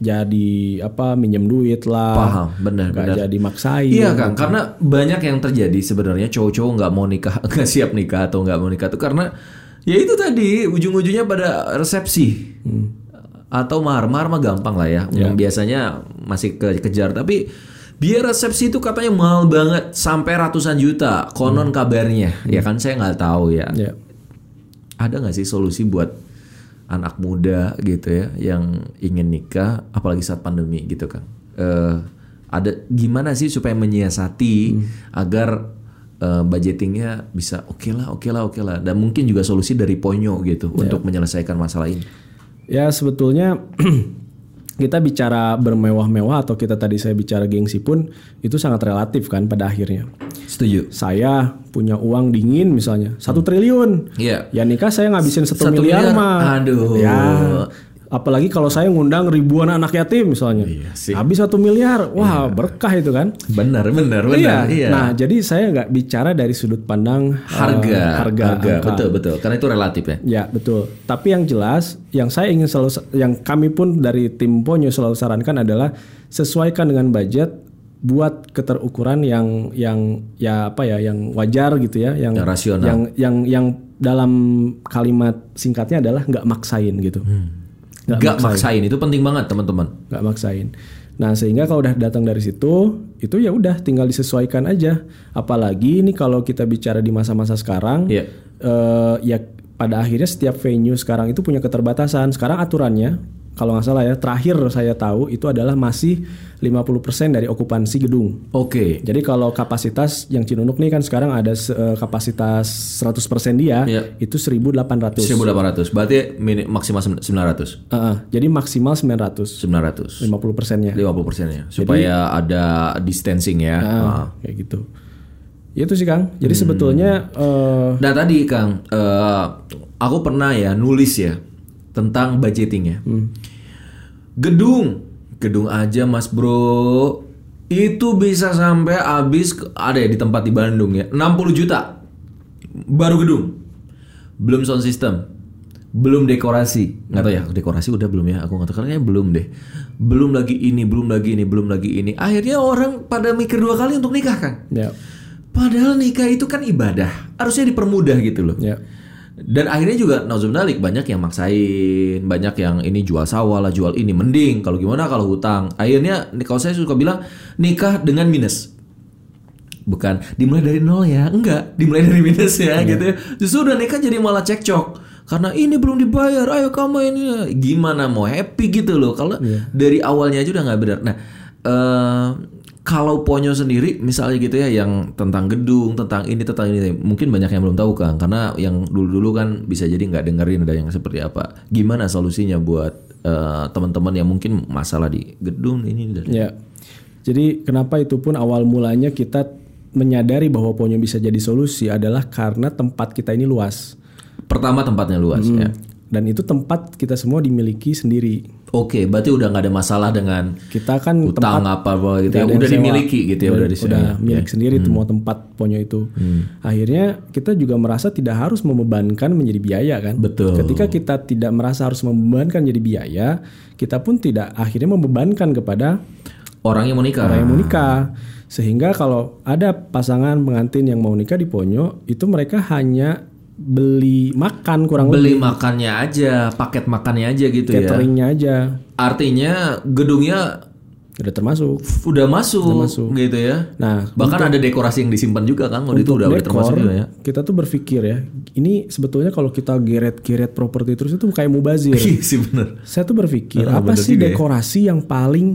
B: jadi apa minjem duit lah,
A: Paham, benar,
B: nggak
A: benar.
B: jadi maksain.
A: Iya Kang, karena banyak yang terjadi sebenarnya cowok-cowok nggak mau nikah, [LAUGHS] nggak siap nikah atau nggak mau nikah tuh karena ya itu tadi ujung-ujungnya pada resepsi
B: Hmm.
A: atau mahar, mahar mah gampang lah ya,
B: Iya.
A: yang biasanya masih ke- kejar tapi biar resepsi itu katanya mahal banget sampai ratusan juta konon
B: Hmm.
A: kabarnya ya kan saya nggak tahu ya
B: Ya.
A: ada nggak sih solusi buat anak muda gitu ya yang ingin nikah apalagi saat pandemi gitu kan Eh, ada gimana sih supaya menyiasati
B: Hmm.
A: agar eh, budgetingnya bisa oke lah oke lah oke lah dan mungkin juga solusi dari Ponyo gitu untuk menyelesaikan masalah ini
B: Ya sebetulnya [CLEARS THROAT] kita bicara bermewah-mewah atau kita tadi saya bicara gengsi pun itu sangat relatif kan pada akhirnya.
A: setuju
B: Saya punya uang dingin misalnya satu triliun,
A: iya
B: ya nikah saya ngabisin satu
A: Satu
B: miliar,
A: miliar,
B: mah.
A: aduh.
B: Ya. Apalagi kalau saya ngundang ribuan anak yatim misalnya,
A: Iya sih.
B: habis satu miliar, wah berkah itu kan?
A: benar benar benar iya,
B: Nah, jadi saya nggak bicara dari sudut pandang eh,
A: harga
B: harga, angka.
A: betul betul karena itu relatif ya
B: Ya betul. Tapi yang jelas, yang saya ingin selalu, yang kami pun dari tim Ponyo selalu sarankan adalah sesuaikan dengan budget buat keterukuran yang yang ya apa ya yang wajar gitu ya, yang
A: Yang rasional.
B: yang yang yang dalam kalimat singkatnya adalah nggak maksain gitu, nggak
A: nggak maksain itu penting banget teman-teman
B: nggak maksain. Nah sehingga kalau udah datang dari situ, itu ya udah tinggal disesuaikan aja. Apalagi ini kalau kita bicara di masa-masa sekarang,
A: Iya.
B: eh, ya pada akhirnya setiap venue sekarang itu punya keterbatasan. Sekarang aturannya, kalau nggak salah ya, terakhir saya tahu itu adalah masih 50% dari okupansi gedung.
A: oke
B: Jadi kalau kapasitas yang Cinunuk nih kan sekarang ada se- eh, kapasitas 100% dia,
A: Iya.
B: itu 1.800.
A: 1800 berarti mini- maksimal 900
B: Eh, eh, jadi maksimal 900,
A: 900
B: 50 persennya.
A: 50 persennya ya. supaya ada distancing ya. Ah.
B: kayak gitu. Ya itu sih Kang. Jadi sebetulnya eh,
A: Nah tadi Kang, eh, aku pernah ya nulis ya tentang budgeting ya. Gedung, gedung aja Mas Bro itu bisa sampai habis ke- ada ya di tempat di Bandung ya 60 juta baru gedung belum sound system belum dekorasi nggak tahu ya dekorasi udah belum ya aku nggak tahu kayaknya belum deh belum lagi ini belum lagi ini belum lagi ini akhirnya orang pada mikir dua kali untuk nikah kan
B: ya
A: Padahal nikah itu kan ibadah, harusnya dipermudah gitu loh.
B: ya
A: Dan akhirnya juga nauzubnalik banyak yang maksain, banyak yang ini jual sawah lah, jual ini mending kalau gimana kalau hutang. Akhirnya nih, kalau saya suka bilang nikah dengan minus. Bukan dimulai dari nol ya, enggak, dimulai dari minus ya gitu ya. Justru udah nikah jadi malah cekcok. Karena ini belum dibayar, ayo kamu ini gimana mau happy gitu loh. Kalau dari awalnya aja udah nggak benar. Nah, eh kalau Ponyo sendiri misalnya gitu ya yang tentang gedung, tentang ini, tentang ini mungkin banyak yang belum tahu Kang karena yang dulu-dulu kan bisa jadi nggak dengerin ada yang seperti apa. Gimana solusinya buat eh, teman-teman yang mungkin masalah di gedung ini dan
B: ya. Jadi kenapa itu pun awal mulanya kita menyadari bahwa Ponyo bisa jadi solusi adalah karena tempat kita ini luas
A: pertama tempatnya luas ya.
B: dan itu tempat kita semua dimiliki sendiri.
A: Oke, berarti udah nggak ada masalah dengan
B: Kita kan tempat
A: utang apa apa gitu ya.
B: nggak ada yang
A: Udah
B: sewa.
A: dimiliki gitu ya Hmm. udah di sini.
B: udah milik sendiri itu semua tempat Ponyo itu. Akhirnya kita juga merasa tidak harus membebankan menjadi biaya kan.
A: Betul.
B: Ketika kita tidak merasa harus membebankan jadi biaya, kita pun tidak akhirnya membebankan kepada
A: Orang yang mau nikah.
B: orang yang mau nikah. Sehingga kalau ada pasangan pengantin yang mau nikah di Ponyo, itu mereka hanya beli makan kurang
A: Beli
B: lebih
A: makannya aja, paket makannya aja gitu ya.
B: cateringnya aja
A: Artinya gedungnya
B: udah termasuk.
A: f- udah masuk, gitu ya.
B: Nah,
A: Bahkan ada dekorasi yang disimpan juga kan, waktu itu udah udah termasuk
B: dekor,
A: juga ya. [LAUGHS]
B: kita tuh berpikir ya, ini sebetulnya kalau kita geret-geret properti terus itu kayak mubazir.
A: Iya sih bener.
B: Saya tuh berpikir
A: Ah,
B: apa
A: bener
B: sih
A: juga ya.
B: dekorasi yang paling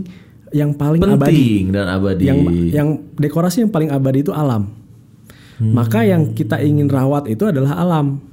B: yang paling abadi?
A: Penting dan abadi.
B: Yang yang dekorasi yang paling abadi itu alam.
A: Hmm.
B: Maka yang kita ingin rawat itu adalah alam.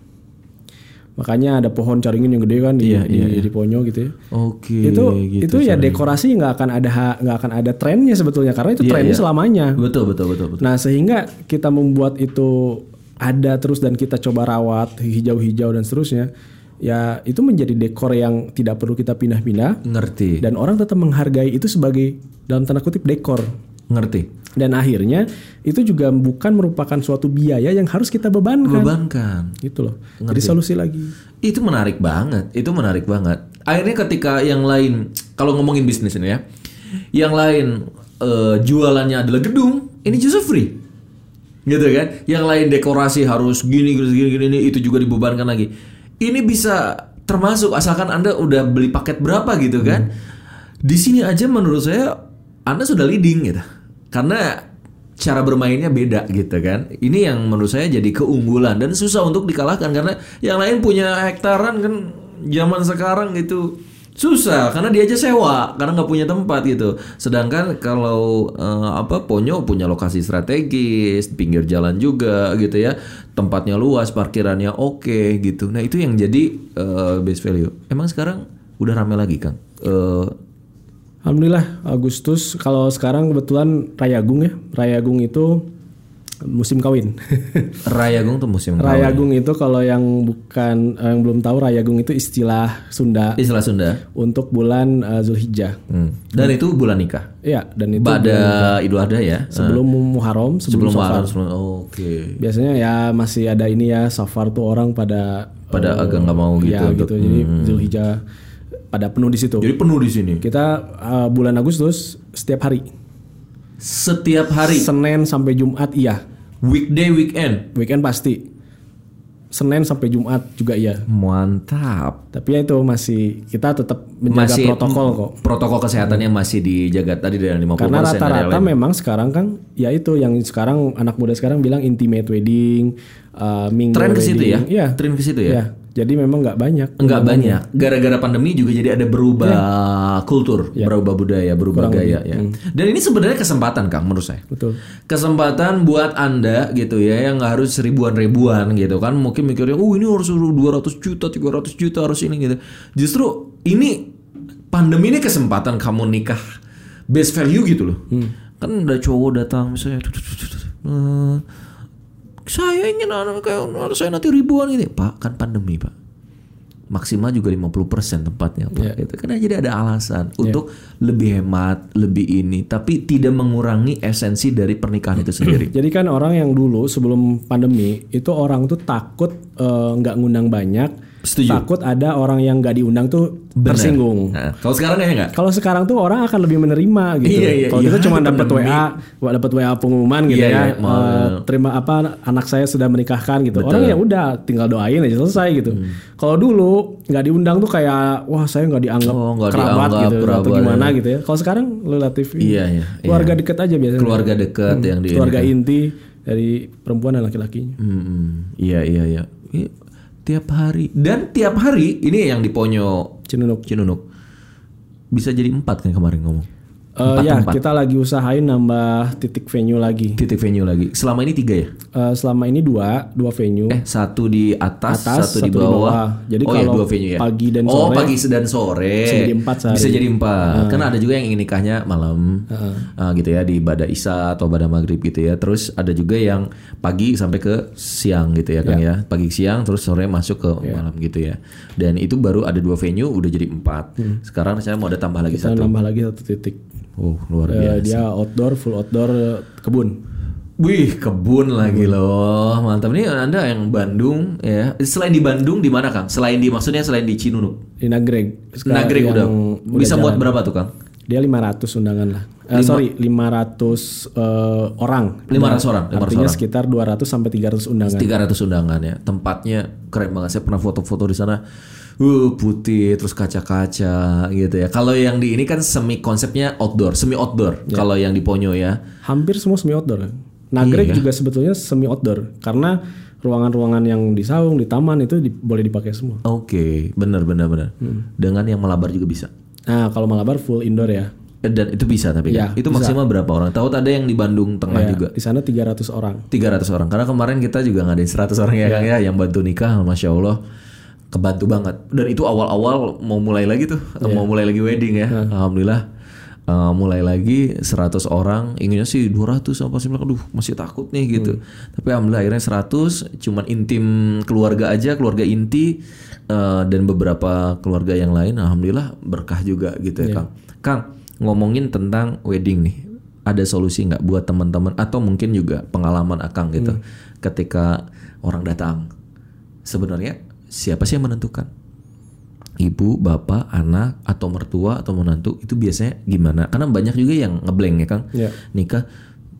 B: Makanya ada pohon caringin yang gede kan di
A: Iya,
B: di, di Ponyo gitu ya.
A: Oke.
B: itu
A: gitu.
B: itu ya dekorasi nggak akan ada ha- nggak akan ada trennya sebetulnya karena itu trennya selamanya.
A: Betul betul betul Iya, betul.
B: Nah sehingga kita membuat itu ada terus dan kita coba rawat hijau-hijau dan seterusnya, ya itu menjadi dekor yang tidak perlu kita pindah-pindah
A: Ngerti.
B: dan orang tetap menghargai itu sebagai dalam tanda kutip dekor.
A: Ngerti.
B: Dan akhirnya itu juga bukan merupakan suatu biaya yang harus kita bebankan,
A: Bebankan.
B: gitu loh. Jadi solusi lagi.
A: Itu menarik banget. Itu menarik banget. Akhirnya ketika yang lain kalau ngomongin bisnis ini ya. Yang lain eh, jualannya adalah gedung, ini justru free. Gitu kan? Yang lain dekorasi harus gini gini gini gini ini, itu juga dibebankan lagi. Ini bisa termasuk asalkan Anda udah beli paket berapa gitu kan. Di sini aja menurut saya Anda sudah leading gitu. Karena cara bermainnya beda gitu kan. Ini yang menurut saya jadi keunggulan dan susah untuk dikalahkan karena yang lain punya hektaran kan zaman sekarang gitu susah karena dia aja sewa karena nggak punya tempat gitu. Sedangkan kalau eh, apa Ponyo punya lokasi strategis, pinggir jalan juga gitu ya. Tempatnya luas, parkirannya oke gitu. Nah, itu yang jadi eh, base value. Emang sekarang udah rame lagi, Kang. Eh,
B: Alhamdulillah Agustus kalau sekarang kebetulan Rayagung ya. Rayagung itu musim kawin. [LAUGHS]
A: Rayagung tuh musim
B: Rayagung itu kalau yang bukan eh, yang belum tahu Rayagung itu istilah Sunda
A: istilah Sunda.
B: untuk bulan eh, Zulhijjah.
A: Hmm. Dan itu bulan nikah.
B: Iya, dan itu
A: Pada Idul Adha ya.
B: sebelum Muharram,
A: Sebelum
B: sebelum,
A: Muharram, sebelum oke.
B: biasanya ya masih ada ini ya Safar tuh orang pada
A: Pada agak nggak mau gitu.
B: ya gitu. Jadi Zulhijjah pada penuh di situ.
A: Jadi penuh di sini.
B: Kita eh, bulan Agustus setiap hari.
A: Setiap hari
B: Senin sampai Jumat iya.
A: weekday weekend.
B: Weekend pasti. Senin sampai Jumat juga iya.
A: Mantap.
B: Tapi ya itu masih kita tetap menjaga
A: Masih- mm,
B: protokol kok.
A: Protokol kesehatannya masih dijaga tadi dari 50%
B: Karena
A: dari
B: rata-rata
A: yang lain.
B: memang sekarang kan ya itu yang sekarang anak muda sekarang bilang intimate wedding, uh, minggu
A: tren ke situ ya.
B: wedding. Iya.
A: Tren ke situ ya.
B: Iya. Jadi memang nggak banyak.
A: Enggak banyak. Gara-gara pandemi juga jadi ada berubah
B: Iya.
A: kultur, berubah budaya, berubah gaya ya.
B: Hmm.
A: Dan ini sebenarnya kesempatan Kang menurut saya.
B: Betul.
A: Kesempatan buat Anda gitu ya yang nggak harus ribuan-ribuan gitu kan. Mungkin mikirnya, "Oh, ini harus 200 juta, 300 juta harus ini gitu." Justru ini pandemi ini kesempatan kamu nikah base value gitu loh. Kan ada cowok datang misalnya "Tut, tut, tut, tut, eh, saya ingin anak kayak harus saya nanti ribuan gitu. Pak, kan pandemi, Pak maksimal juga 50% tempatnya Pak. Itu kan jadi ada alasan untuk lebih hemat, lebih ini tapi tidak mengurangi esensi dari pernikahan itu sendiri.
B: Jadi kan orang yang dulu sebelum pandemi itu orang tuh takut eh, nggak ngundang banyak,
A: [CLEARS THROAT] Setuju.
B: takut ada orang yang nggak diundang tuh tersinggung.
A: Nah, kalau sekarang kayaknya enggak?
B: Kalau sekarang tuh orang akan lebih menerima gitu.
A: Iya, iya,
B: Kalau
A: iya.
B: kita cuma
A: Ada
B: dapat
A: pandemi.
B: WA, wa- dapat WA pengumuman gitu
A: Iya,
B: ya.
A: iya, mau-
B: eh, terima apa anak saya sudah menikahkan gitu. Orang ya udah tinggal doain aja selesai gitu.
A: Hmm.
B: Kalau dulu nggak diundang tuh kayak wah saya nggak dianggap
A: Oh, nggak
B: kerabat
A: dianggap
B: gitu atau
A: kerabat,
B: gimana gitu ya. Kalau sekarang relatif ini.
A: Iya, iya, iya.
B: keluarga dekat aja biasanya.
A: Keluarga dekat yang di
B: Keluarga inti dari perempuan dan laki-lakinya.
A: Hmm, iya iya iya. Ini Tiap hari dan tiap hari ini yang di Ponyo
B: Cinunuk.
A: Cinunuk bisa jadi empat kan kemarin ngomong.
B: Eh, ya, kita lagi usahain nambah titik venue lagi.
A: Titik venue lagi. Selama ini tiga ya?
B: Eh, selama ini dua, dua venue.
A: Eh satu di atas,
B: Atas,
A: satu, di
B: satu di
A: bawah.
B: bawah. Jadi
A: oh
B: kalau
A: dua venue ya.
B: pagi dan
A: Oh
B: sore,
A: pagi dan sore.
B: bisa jadi empat sehari.
A: Bisa jadi empat. Karena ada juga yang ingin nikahnya malam, Ah, gitu ya di ibadah isya atau ibadah maghrib gitu ya. Terus ada juga yang pagi sampai ke siang gitu ya kan ya. Pagi siang terus sore masuk ke malam gitu ya. Dan itu baru ada dua venue udah jadi empat.
B: Hmm.
A: Sekarang saya mau ada tambah lagi
B: Kita
A: satu.
B: nambah lagi satu titik.
A: Oh luar biasa.
B: Eh, dia outdoor, full outdoor eh, kebun.
A: Wih, kebun lagi loh. Mantap nih Anda yang Bandung ya. Selain di Bandung di mana, Kang? Selain di maksudnya selain di Cinunuk.
B: Di Nagreg. Sekarang
A: Nagreg
B: yang
A: udah. Bisa buat berapa tuh, Kang?
B: Dia 500 undangan lah. Eh, sorry, 500 eh, orang.
A: 500 orang, 500
B: Artinya
A: orang.
B: sekitar 200 sampai 300 undangan.
A: 300 undangan ya. Tempatnya keren banget. Saya pernah foto-foto di sana. Uh, putih terus kaca-kaca gitu ya. Kalau yang di ini kan semi konsepnya outdoor, semi outdoor. Kalau yang di Ponyo ya.
B: Hampir semua semi outdoor. Nagrek
A: Iya.
B: juga sebetulnya semi outdoor karena ruangan-ruangan yang di saung, di taman itu di- boleh dipakai semua.
A: Oke, bener bener bener.
B: Hmm.
A: Dengan yang melabar juga bisa.
B: Nah, kalau Malabar full indoor ya.
A: Eh, Dan itu bisa tapi kan? itu maksimal berapa orang? Tahu ada yang di Bandung Tengah juga
B: Di sana 300 orang.
A: 300 orang. Karena kemarin kita juga ngadain 100 orang ya Kang ya yang bantu nikah, masya Allah kebantu banget. Dan itu awal-awal mau mulai lagi tuh, mau mulai lagi wedding ya. Alhamdulillah eh, mulai lagi 100 orang, inginnya sih 200 apa sih bilang, aduh masih takut nih gitu. Tapi alhamdulillah akhirnya 100 cuman intim keluarga aja, keluarga inti eh, dan beberapa keluarga yang lain alhamdulillah berkah juga gitu ya Kang. Kang, ngomongin tentang wedding nih ada solusi nggak buat teman-teman atau mungkin juga pengalaman akang gitu ketika orang datang sebenarnya siapa sih yang menentukan ibu bapak anak atau mertua atau menantu itu biasanya gimana karena banyak juga yang ngebleng ya kang
B: Iya.
A: nikah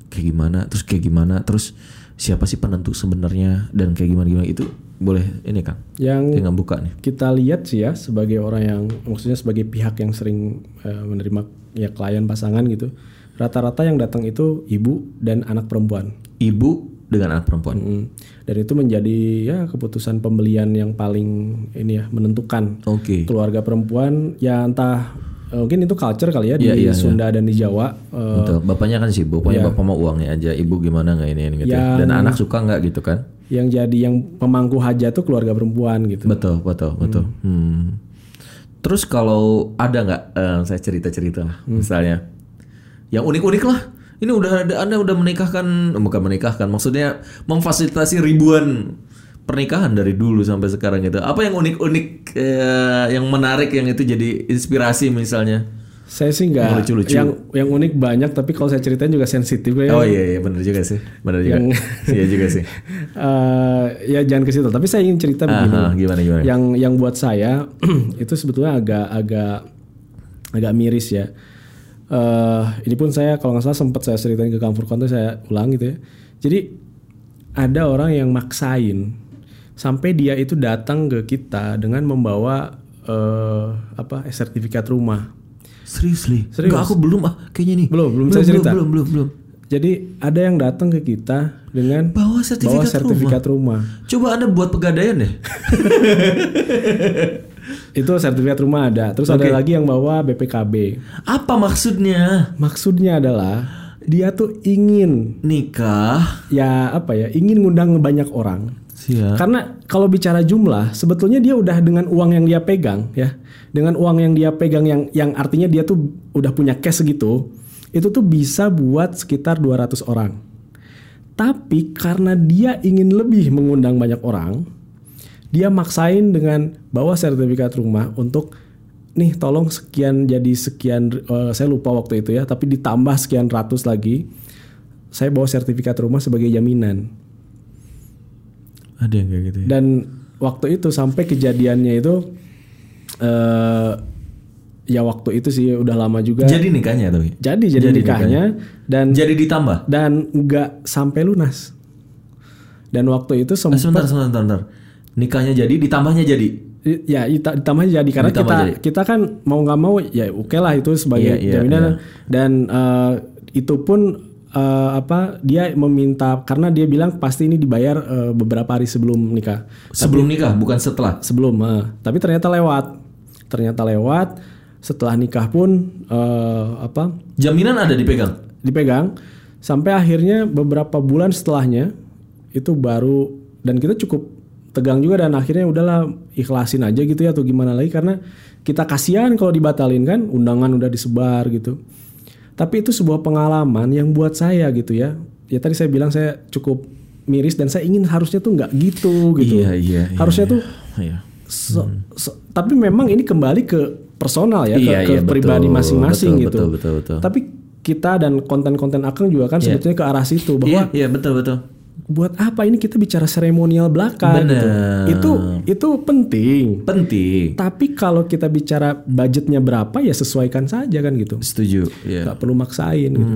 A: kayak gimana terus kayak gimana terus siapa sih penentu sebenarnya dan kayak gimana gimana itu boleh ini kang
B: Yang
A: tinggal buka nih
B: kita lihat sih ya sebagai orang yang maksudnya sebagai pihak yang sering eh, menerima ya klien pasangan gitu rata-rata yang datang itu ibu dan anak perempuan
A: ibu dengan anak perempuan
B: Mm. dan itu menjadi ya keputusan pembelian yang paling ini ya menentukan
A: oke
B: keluarga perempuan ya entah eh, mungkin itu culture kali ya di
A: Iya, iya,
B: Sunda dan di Jawa eh,
A: Betul. Bapaknya kan sibuk, pokoknya bapak mau uangnya aja, ibu gimana nggak ini, ini gitu. ya. Dan anak suka nggak gitu kan?
B: yang jadi yang pemangku hajat tuh keluarga perempuan gitu
A: Betul, betul, betul. Hmm. Terus kalau ada nggak, eh, saya cerita cerita lah, misalnya, yang unik unik lah. Ini udah ada, anda udah menikahkan, eh, bukan menikahkan, maksudnya memfasilitasi ribuan pernikahan dari dulu sampai sekarang gitu. Apa yang unik unik, yang menarik, yang itu jadi inspirasi misalnya?
B: saya sih nggak yang yang unik banyak tapi kalau saya ceritain juga sensitif ya
A: Oh iya, iya benar juga sih, benar juga, iya juga [LAUGHS] sih.
B: Eh, ya jangan ke situ tapi saya ingin cerita begini
A: Aha, gimana gimana?
B: yang yang buat saya [CLEARS THROAT] itu sebetulnya agak agak agak miris ya Eh, ini pun saya kalau nggak salah sempat saya ceritain ke kampur tuh saya ulang gitu ya jadi ada orang yang maksain sampai dia itu datang ke kita dengan membawa eh, apa eh, sertifikat rumah
A: Seriously? Enggak, aku belum ah kayaknya nih.
B: Belum, belum saya cerita.
A: Belum, belum, belum.
B: jadi ada yang datang ke kita dengan
A: Bawa
B: bawa
A: sertifikat rumah.
B: sertifikat rumah.
A: Coba Anda buat pegadaian deh.
B: Itu sertifikat rumah ada. Terus ada lagi yang bawa BPKB.
A: Apa maksudnya?
B: Maksudnya adalah dia tuh ingin
A: Nikah.
B: ya apa ya, ingin ngundang banyak orang.
A: Siap.
B: Karena kalau bicara jumlah, sebetulnya dia udah dengan uang yang dia pegang ya. Dengan uang yang dia pegang yang yang artinya dia tuh udah punya cash segitu, itu tuh bisa buat sekitar 200 orang. Tapi karena dia ingin lebih mengundang banyak orang, dia maksain dengan bawa sertifikat rumah untuk nih tolong sekian jadi sekian eh, saya lupa waktu itu ya, tapi ditambah sekian ratus lagi. Saya bawa sertifikat rumah sebagai jaminan
A: Ada yang kayak gitu ya?
B: dan waktu itu sampai kejadiannya itu eh ya waktu itu sih udah lama juga jadi
A: Jadi nikahnya tapi.
B: jadi, nikahnya dan
A: Jadi ditambah. Ah,
B: dan nggak sampai lunas dan waktu itu
A: Eh,
B: sempat
A: sebentar, sebentar, sebentar, sebentar. Nikahnya jadi, ditambahnya jadi.
B: ya ita- ditambah jadi karena
A: Ditambah
B: kita
A: jadi.
B: kita kan mau nggak mau ya oke lah itu sebagai
A: Iya, iya,
B: jaminan dan eh, itu pun eh, apa dia meminta karena dia bilang pasti ini dibayar eh, beberapa hari sebelum nikah
A: Sebelum nikah, bukan setelah.
B: sebelum eh. tapi ternyata lewat ternyata lewat setelah nikah pun eh, apa
A: Jaminan ada dipegang.
B: dipegang sampai akhirnya beberapa bulan setelahnya itu baru dan kita cukup tegang juga dan akhirnya udahlah ikhlasin aja gitu ya atau gimana lagi karena kita kasihan kalau dibatalin kan undangan udah disebar gitu tapi itu sebuah pengalaman yang buat saya gitu ya ya tadi saya bilang saya cukup miris dan saya ingin harusnya tuh nggak gitu gitu
A: Iya, iya, iya,
B: harusnya tuh
A: Iya.
B: So- so- tapi memang ini kembali ke personal
A: Iya,
B: ya, ke, ke
A: iya, betul,
B: pribadi masing-masing
A: betul,
B: gitu.
A: betul, betul, Iya. betul.
B: Tapi kita dan konten-konten Akang juga kan sebetulnya ke arah situ bahwa
A: Iya, iya, betul, betul.
B: buat apa ini kita bicara seremonial belaka gitu.
A: Bener.
B: Itu itu penting.
A: Penting.
B: Tapi kalau kita bicara budgetnya berapa ya sesuaikan saja kan gitu.
A: Setuju. Iya. Hmm.
B: nggak perlu maksain gitu.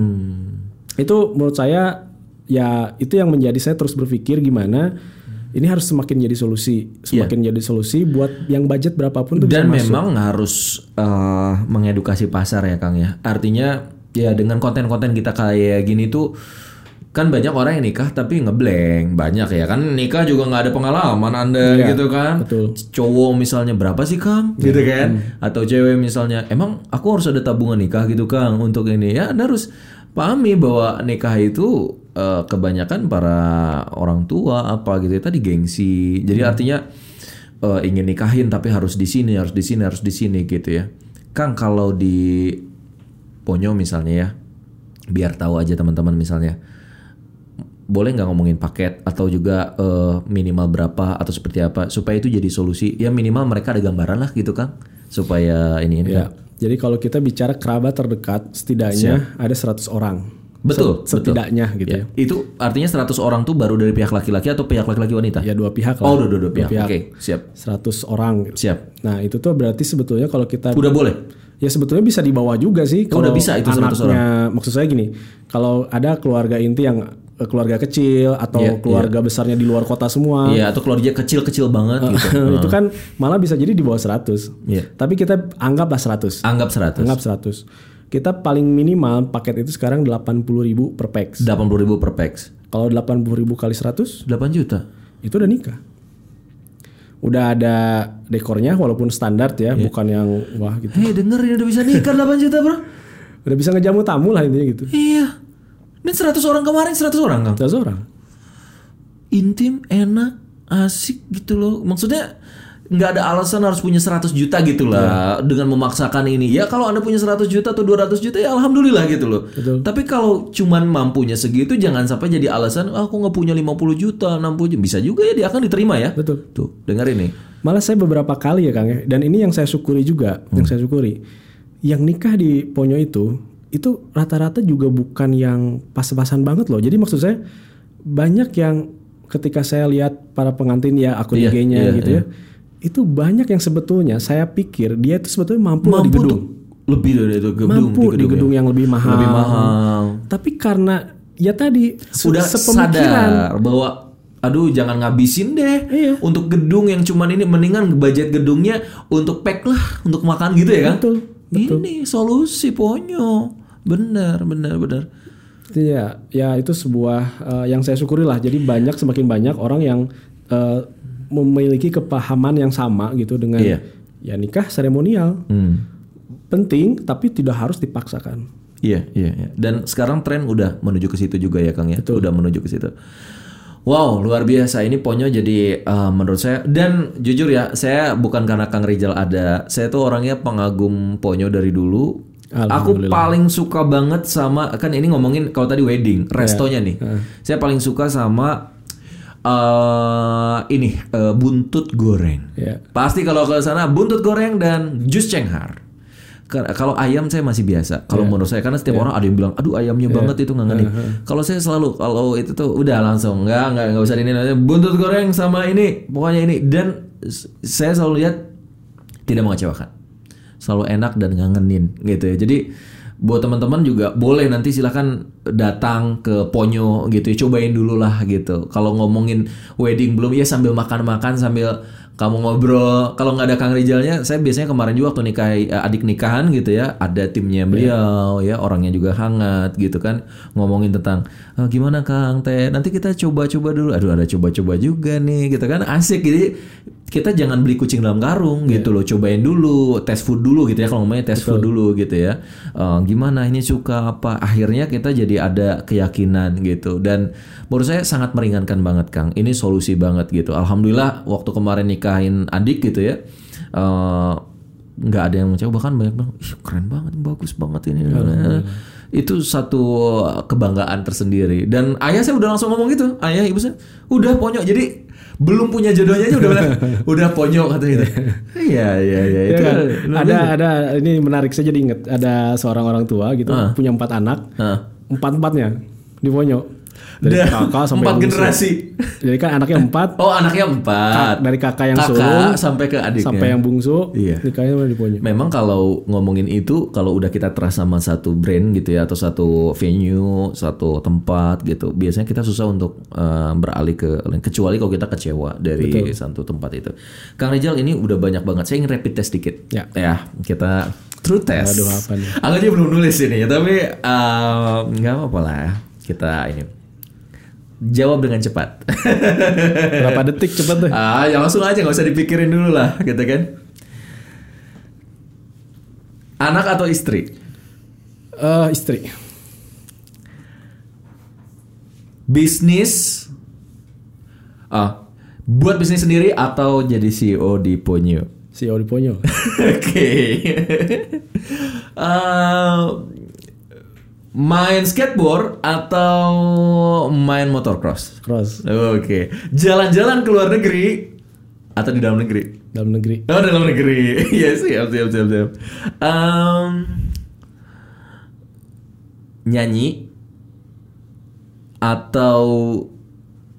B: Itu menurut saya ya itu yang menjadi saya terus berpikir gimana ini harus semakin jadi solusi,
A: Iya.
B: semakin jadi solusi buat yang budget berapapun tuh bisa
A: Dan
B: masuk.
A: memang harus eh, mengedukasi pasar ya Kang ya. Artinya ya dengan konten-konten kita kayak gini tuh kan banyak orang yang nikah tapi ngebleng banyak ya kan nikah juga nggak ada pengalaman anda
B: Iya,
A: gitu kan
B: betul. Iya, hmm.
A: cowok misalnya berapa sih kang gitu kan atau cewek misalnya emang aku harus ada tabungan nikah gitu kang untuk ini ya anda harus pahami bahwa nikah itu eh, kebanyakan para orang tua apa gitu ya tadi gengsi
B: Hmm.
A: jadi artinya eh, ingin nikahin tapi harus di sini harus di sini harus di sini gitu ya kang kalau di Ponyo misalnya ya biar tahu aja teman-teman misalnya boleh nggak ngomongin paket atau juga eh, minimal berapa atau seperti apa supaya itu jadi solusi ya minimal mereka ada gambaran lah gitu kan supaya ini ini
B: Ya.
A: kan.
B: Jadi kalau kita bicara kerabat terdekat setidaknya ada 100 orang.
A: betul betul
B: Setidaknya gitu
A: Ya, itu artinya 100 orang tuh baru dari pihak laki-laki atau pihak laki-laki wanita
B: ya. Ya dua pihak lah.
A: oh udah dua, dua pihak oke siap
B: 100 orang. gitu.
A: siap
B: Nah, itu tuh berarti sebetulnya kalau kita
A: udah boleh
B: Ya sebetulnya bisa dibawa juga sih
A: Oh,
B: kalau
A: udah bisa itu 100
B: anaknya maksud saya gini, kalau ada keluarga inti yang eh, keluarga kecil atau
A: Iya,
B: keluarga besarnya di luar kota semua,
A: iya atau keluarga kecil-kecil banget gitu
B: [LAUGHS] itu kan malah bisa jadi di bawah 100.
A: Iya.
B: Tapi kita anggaplah 100.
A: anggap 100
B: Anggap 100. Kita paling minimal paket itu sekarang 80.000 per
A: 80
B: pax.
A: ribu per pax
B: Kalau 80.000 kali 100
A: 8 juta
B: itu udah nikah. Udah ada dekornya walaupun standar
A: Iya.
B: ya, bukan yang wah gitu.
A: hei denger ini udah bisa nikah 8 juta bro
B: Udah bisa ngejamu tamu lah intinya gitu.
A: iya ini 100 orang kemarin 100 orang kan
B: 100 orang.
A: intim, enak, asik gitu loh. Maksudnya nggak ada alasan harus punya 100 juta gitu lah dengan memaksakan ini. Ya kalau Anda punya 100 juta atau 200 juta ya alhamdulillah gitu loh. Tapi kalau cuman mampunya segitu jangan sampai jadi alasan "Ah, aku nggak punya 50 juta, 60 juta. Bisa juga ya dia akan diterima ya.
B: Betul.
A: Tuh, denger ini.
B: Malah saya beberapa kali ya Kang ya, dan ini yang saya syukuri juga,
A: Hmm.
B: yang saya syukuri. Yang nikah di Ponyo itu, itu rata-rata juga bukan yang pas-pasan banget loh. Jadi maksud saya banyak yang ketika saya lihat para pengantin ya akun
A: Iya,
B: IG-nya
A: iya,
B: gitu ya, itu banyak yang sebetulnya saya pikir dia itu sebetulnya mampu, loh di
A: Mampu
B: gedung,
A: tuh lebih dari itu gedung
B: mampu di
A: ya.
B: gedung yang lebih mahal.
A: Lebih mahal.
B: Tapi karena ya tadi se-
A: sudah
B: sepemikiran
A: sadar bahwa aduh jangan ngabisin deh
B: Iya.
A: untuk gedung yang cuman ini mendingan budget gedungnya untuk pack lah untuk makan gitu ya kan
B: Betul,
A: ini solusi ponyo benar benar benar
B: Iya, ya itu sebuah eh, yang saya syukuri lah. Jadi banyak semakin banyak orang yang eh, memiliki kepahaman yang sama gitu dengan
A: Iya.
B: ya nikah seremonial
A: hmm.
B: penting tapi tidak harus dipaksakan.
A: Iya, iya, iya. Dan sekarang tren udah menuju ke situ juga ya, Kang ya. Udah menuju ke situ. Wow, luar biasa ini Ponyo jadi eh, menurut saya dan jujur ya, saya bukan karena Kang Rizal ada. Saya tuh orangnya pengagum Ponyo dari dulu. Aku paling suka banget sama kan ini ngomongin kalau tadi wedding, restonya nih. Saya paling suka sama eh ini eh, buntut goreng.
B: Ya.
A: Pasti kalau ke sana buntut goreng dan jus cenghar. Ke- Kalau ayam saya masih biasa. Kalau menurut saya karena setiap orang ada yang bilang, aduh ayamnya banget itu nggak nih. Kalau saya selalu kalau itu tuh udah langsung nggak nggak nggak usah ini ini. buntut goreng sama ini pokoknya ini dan s- saya selalu lihat tidak mengecewakan, selalu enak dan ngangenin gitu ya. Jadi buat teman-teman juga boleh nanti silahkan datang ke Ponyo gitu ya cobain dulu lah gitu kalau ngomongin wedding belum ya sambil makan-makan sambil kamu ngobrol kalau nggak ada Kang Rijalnya saya biasanya kemarin juga waktu nikah eh, adik nikahan gitu ya ada timnya beliau ya orangnya juga hangat gitu kan ngomongin tentang "Ah, gimana Kang Teh nanti kita coba-coba dulu aduh ada coba-coba juga nih gitu kan asik jadi kita jangan beli kucing dalam karung gitu loh cobain dulu tes food dulu gitu ya kalau ngomongnya tes food dulu gitu ya Eh, gimana ini suka apa akhirnya kita jadi ada keyakinan gitu dan menurut saya sangat meringankan banget Kang ini solusi banget gitu alhamdulillah waktu kemarin nikahin adik gitu ya eh, nggak ada yang mencoba bahkan banyak bilang "Ih, keren banget bagus banget ini itu satu kebanggaan tersendiri dan ayah saya udah langsung ngomong gitu ayah ibu saya udah ponyok jadi belum punya jodohnya aja udah
B: [LAUGHS]
A: bilang, udah ponyok katanya gitu iya iya iya
B: Ya
A: itu
B: kan?
A: kan.
B: ada ada ini menarik saya jadi
A: Ah.
B: inget ada seorang orang tua gitu punya empat anak
A: Nah,
B: empat empatnya di Ponyo. Dari
A: Dan
B: kakak sampai
A: empat
B: bungsu.
A: generasi.
B: Jadi kan anaknya empat,
A: Oh anaknya empat.
B: dari kakak yang
A: Kakak
B: sulung
A: sampai ke adiknya.
B: sampai yang bungsu,
A: Iya.
B: nikahnya udah di Ponyo.
A: Memang kalau ngomongin itu, kalau udah kita trust sama satu brand gitu ya, atau satu venue, satu tempat gitu, biasanya kita susah untuk eh, beralih ke lain. Kecuali kalau kita kecewa dari satu tempat itu. Kang Rizal ini udah banyak banget. Saya ingin rapid test dikit.
B: Ya.
A: kita true test.
B: Aduh, apa nih?
A: Aku aja belum nulis ini, tapi eh, nggak apa-apa lah. Kita ini jawab dengan cepat. [LAUGHS]
B: Berapa detik cepet tuh?
A: Ah, ya langsung aja nggak usah dipikirin dulu lah, gitu kan? Anak atau istri?
B: Eh, istri,
A: Bisnis? Ah, buat bisnis sendiri atau jadi CEO di Ponyo? [LAUGHS]
B: CEO di Ponyo.
A: Oke. Eh, main skateboard atau main motocross?
B: Cross
A: Oke. Jalan-jalan ke luar negeri atau di dalam negeri?
B: dalam negeri.
A: Oh dalam negeri, [LAUGHS] iya siap siap siap siap. Em, nyanyi atau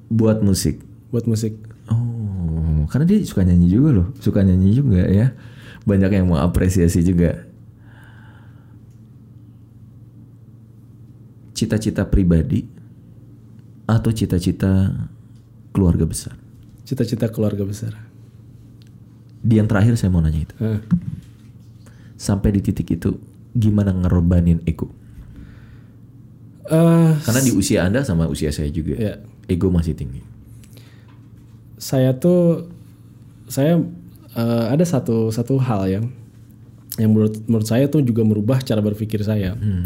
A: buat musik?
B: Buat musik.
A: Oh, karena dia suka nyanyi juga loh, suka nyanyi juga ya. Banyak yang mau apresiasi juga. Cita-cita pribadi atau cita-cita keluarga besar?
B: Cita-cita keluarga besar.
A: Di yang terakhir saya mau nanya itu.
B: Hah.
A: sampai di titik itu gimana ngerobanin ego
B: Eh,
A: karena di usia anda sama usia saya juga
B: Iya.
A: ego masih tinggi
B: saya tuh saya eh, ada satu satu hal yang yang menurut menurut saya tuh juga merubah cara berpikir saya
A: Hmm.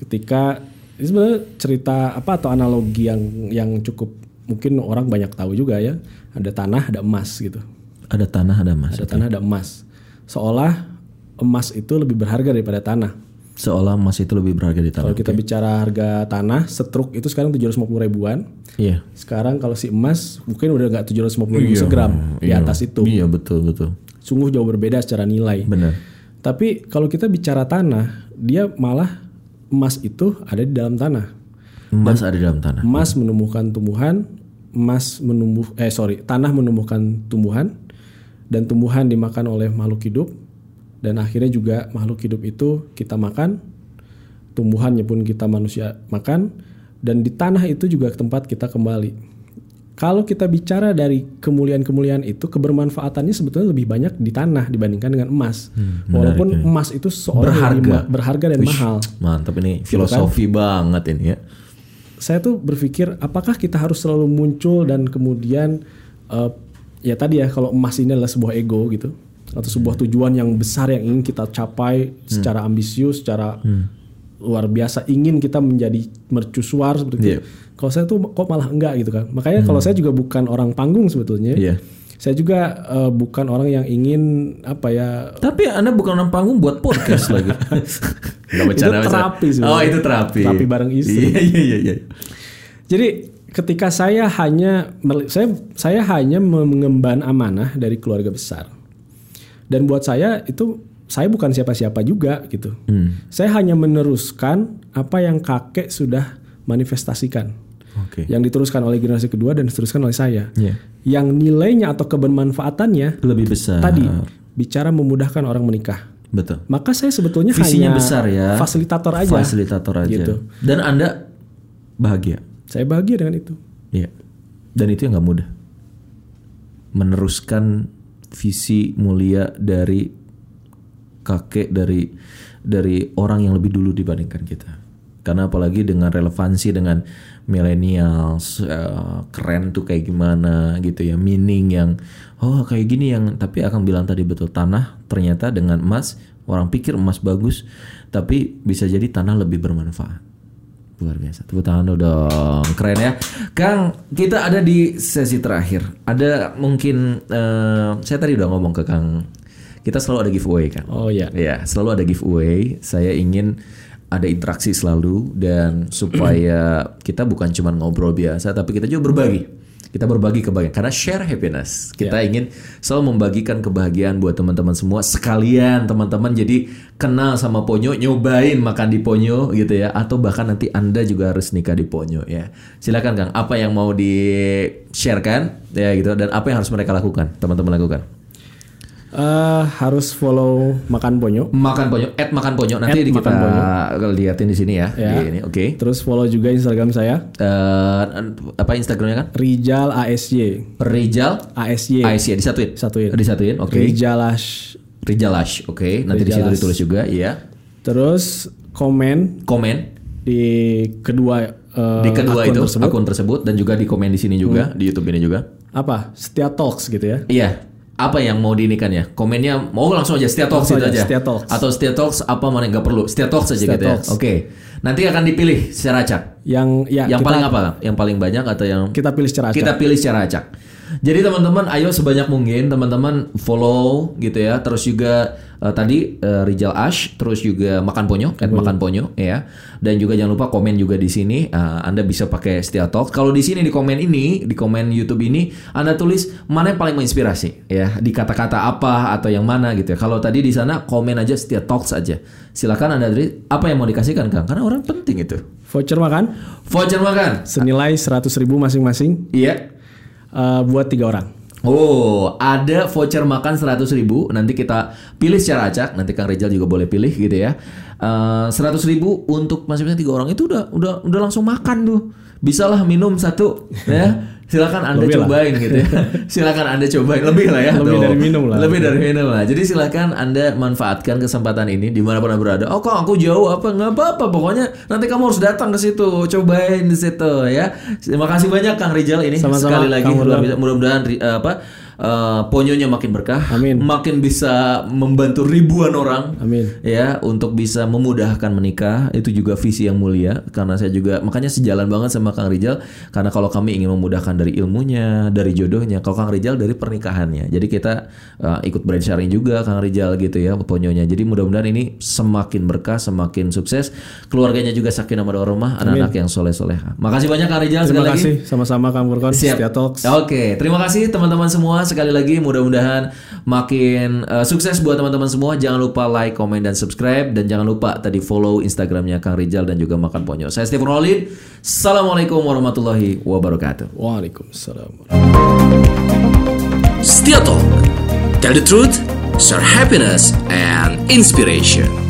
B: ketika ini sebenarnya cerita apa atau analogi yang yang cukup mungkin orang banyak tahu juga ya ada tanah ada emas gitu
A: ada tanah ada emas
B: ada tanah ada emas seolah emas itu lebih berharga daripada tanah
A: seolah emas itu lebih berharga di tanah
B: kalau kita bicara harga tanah setruk itu sekarang 750 ribuan
A: iya
B: sekarang kalau si emas mungkin udah nggak 750 ribu segram di
A: iya.
B: atas itu
A: iya betul betul
B: sungguh jauh berbeda secara nilai.
A: benar
B: Tapi kalau kita bicara tanah, dia malah emas itu ada di dalam tanah.
A: emas ada dalam tanah
B: Emas menumbuhkan tumbuhan, emas menumbuh eh sorry, tanah menumbuhkan tumbuhan dan tumbuhan dimakan oleh makhluk hidup dan akhirnya juga makhluk hidup itu kita makan, tumbuhannya pun kita manusia makan dan di tanah itu juga tempat kita kembali. Kalau kita bicara dari kemuliaan-kemuliaan itu, kebermanfaatannya sebetulnya lebih banyak di tanah dibandingkan dengan emas. Walaupun emas itu
A: Hmm, ya.
B: seorang yang
A: Berharga.
B: dima- berharga dan mahal. Gitu kan? Iya.
A: mantap ini filosofi banget ini ya
B: saya tuh berpikir apakah kita harus selalu muncul dan kemudian eh, ya tadi ya kalau emas ini adalah sebuah ego gitu atau sebuah tujuan yang besar yang ingin kita capai secara
A: Hmm.
B: ambisius, secara luar biasa ingin kita menjadi mercusuar seperti
A: Iya.
B: itu.
A: Hmm.
B: Kalau saya tuh kok malah enggak gitu kan. Makanya kalau saya juga bukan orang panggung sebetulnya.
A: Iya.
B: Saya juga eh, bukan orang yang ingin apa ya
A: tapi anda bukan orang panggung buat podcast lagi Nggak bercanda,
B: [LAUGHS] Itu
A: bercanda.
B: terapi sebenarnya.
A: oh itu terapi
B: Terapi bareng istri.
A: iya iya iya, iya
B: Jadi ketika saya hanya mel- saya saya hanya mengemban amanah dari keluarga besar. Dan buat saya itu saya bukan siapa-siapa juga gitu.
A: Hmm.
B: Saya hanya meneruskan apa yang kakek sudah manifestasikan.
A: oke
B: Yang diteruskan oleh generasi kedua dan diteruskan oleh saya.
A: Iya.
B: Yang nilainya atau kebermanfaatannya
A: lebih besar
B: tadi bicara memudahkan orang menikah.
A: betul
B: Maka saya sebetulnya
A: Visinya
B: hanya
A: besar ya.
B: fasilitator aja.
A: fasilitator aja
B: Gitu.
A: dan anda bahagia
B: Saya bahagia dengan itu.
A: Iya. Dan itu yang nggak mudah. Meneruskan visi mulia dari kakek dari dari orang yang lebih dulu dibandingkan kita. Karena apalagi dengan relevansi dengan millennials eh, keren tuh kayak gimana gitu ya, meaning yang oh kayak gini yang tapi akan bilang tadi betul tanah ternyata dengan emas orang pikir emas bagus tapi bisa jadi tanah lebih bermanfaat luar biasa tepuk tangan dulu dong keren ya Kang kita ada di sesi terakhir ada mungkin eh, saya tadi udah ngomong ke Kang kita selalu ada giveaway kan
B: Oh ya.
A: ya selalu ada giveaway saya ingin ada interaksi selalu dan supaya kita bukan cuma ngobrol biasa tapi kita juga berbagi kita berbagi kebahagiaan karena share happiness. Kita ingin selalu membagikan kebahagiaan buat teman-teman semua sekalian teman-teman jadi kenal sama Ponyo, nyobain makan di Ponyo gitu ya atau bahkan nanti Anda juga harus nikah di Ponyo ya. Silakan Kang, apa yang mau di-sharekan ya gitu dan apa yang harus mereka lakukan, teman-teman lakukan.
B: Eh, harus follow makan ponyo.
A: Makan Ponyo, add makan Ponyo nanti
B: Add
A: di kita
B: Makan
A: liatin di sini ya.
B: Ya.
A: Di ini, oke.
B: Terus follow juga Instagram saya
A: Eh, apa Instagramnya kan?
B: Rijal ASY.
A: Rizal
B: ASY.
A: Aisyah disatuin.
B: Satuin.
A: Disatuin, oke.
B: Rijalash.
A: Rijalash, oke. Nanti di situ
B: Rijalash.
A: ditulis juga, iya.
B: Terus komen
A: Komen
B: di kedua eh,
A: di kedua
B: akun
A: itu
B: tersebut. Hmm.
A: akun tersebut dan juga di komen di sini juga, di YouTube ini juga.
B: apa? Setia Talks gitu ya.
A: Iya. Apa yang mau diinikan ya? Komennya mau langsung aja Setia Talks
B: Langsung
A: itu
B: aja,
A: aja.
B: Setia Talks.
A: Atau Setia Talks apa mana nggak perlu. Setia Talks aja
B: Setia
A: gitu
B: Talks.
A: ya. Oke. Nanti akan dipilih secara acak.
B: Yang ya
A: yang
B: kita,
A: paling apa? Yang paling banyak atau yang
B: kita pilih secara acak.
A: kita pilih secara acak. Jadi teman-teman, ayo sebanyak mungkin teman-teman follow gitu ya. Terus juga eh, tadi eh, Rizal Ash, terus juga makan ponyo, at makan ponyo ya. Dan juga jangan lupa komen juga di sini. Eh, anda bisa pakai Setia Talk. Kalau di sini di komen ini, di komen YouTube ini, anda tulis mana yang paling menginspirasi ya. Di kata-kata apa atau yang mana gitu ya. Kalau tadi di sana komen aja Setia Talks aja. Silakan anda tulis apa yang mau dikasihkan Kang, karena orang penting itu.
B: Voucher makan
A: Voucher makan.
B: senilai 100.000 masing-masing
A: Iya.
B: eh, buat tiga orang.
A: Oh, ada voucher makan 100.000 ribu. Nanti kita pilih secara acak. Nanti Kang Rizal juga boleh pilih gitu ya. Seratus ribu untuk masing-masing tiga orang itu udah udah udah langsung makan tuh. Bisalah minum satu ya. Silakan anda
B: Lebih lah.
A: cobain gitu
B: [LAUGHS]
A: ya. Silakan anda cobain lebih lah ya.
B: Lebih
A: tuh.
B: dari minum lah.
A: Lebih dari minum lah. Jadi silakan anda manfaatkan kesempatan ini dimanapun anda berada. Oh kok aku jauh apa nggak apa-apa. Pokoknya nanti kamu harus datang ke situ, cobain di situ ya. Terima kasih banyak Kang Rizal ini
B: Sama-sama,
A: sekali lagi
B: Kang
A: luar
B: Murlan.
A: biasa. mudah-mudahan ri- eh, apa eh, ponyonya makin berkah,
B: Amin.
A: makin bisa membantu ribuan orang
B: Amin.
A: ya untuk bisa memudahkan menikah itu juga visi yang mulia karena saya juga makanya sejalan banget sama Kang Rizal karena kalau kami ingin memudahkan dari ilmunya dari jodohnya kalau Kang Rizal dari pernikahannya jadi kita uh, ikut brand sharing juga Kang Rizal gitu ya ponyonya jadi mudah-mudahan ini semakin berkah semakin sukses keluarganya juga sakinah rumah anak-anak yang soleh-solehah makasih banyak Kang Rijal sekali
B: Terima
A: lagi
B: kasih sama-sama Kang Kurkon
A: Siap.
B: Setia Talks.
A: Oke, terima kasih teman-teman semua sekali lagi mudah-mudahan makin eh, sukses buat teman-teman semua. Jangan lupa like, komen dan subscribe dan jangan lupa tadi follow Instagramnya Kang Rizal dan juga Makan Ponyo. Saya Stephen Rolin. Assalamualaikum warahmatullahi wabarakatuh.
B: Waalaikumsalam.
A: Setia Tell the truth, share happiness and inspiration.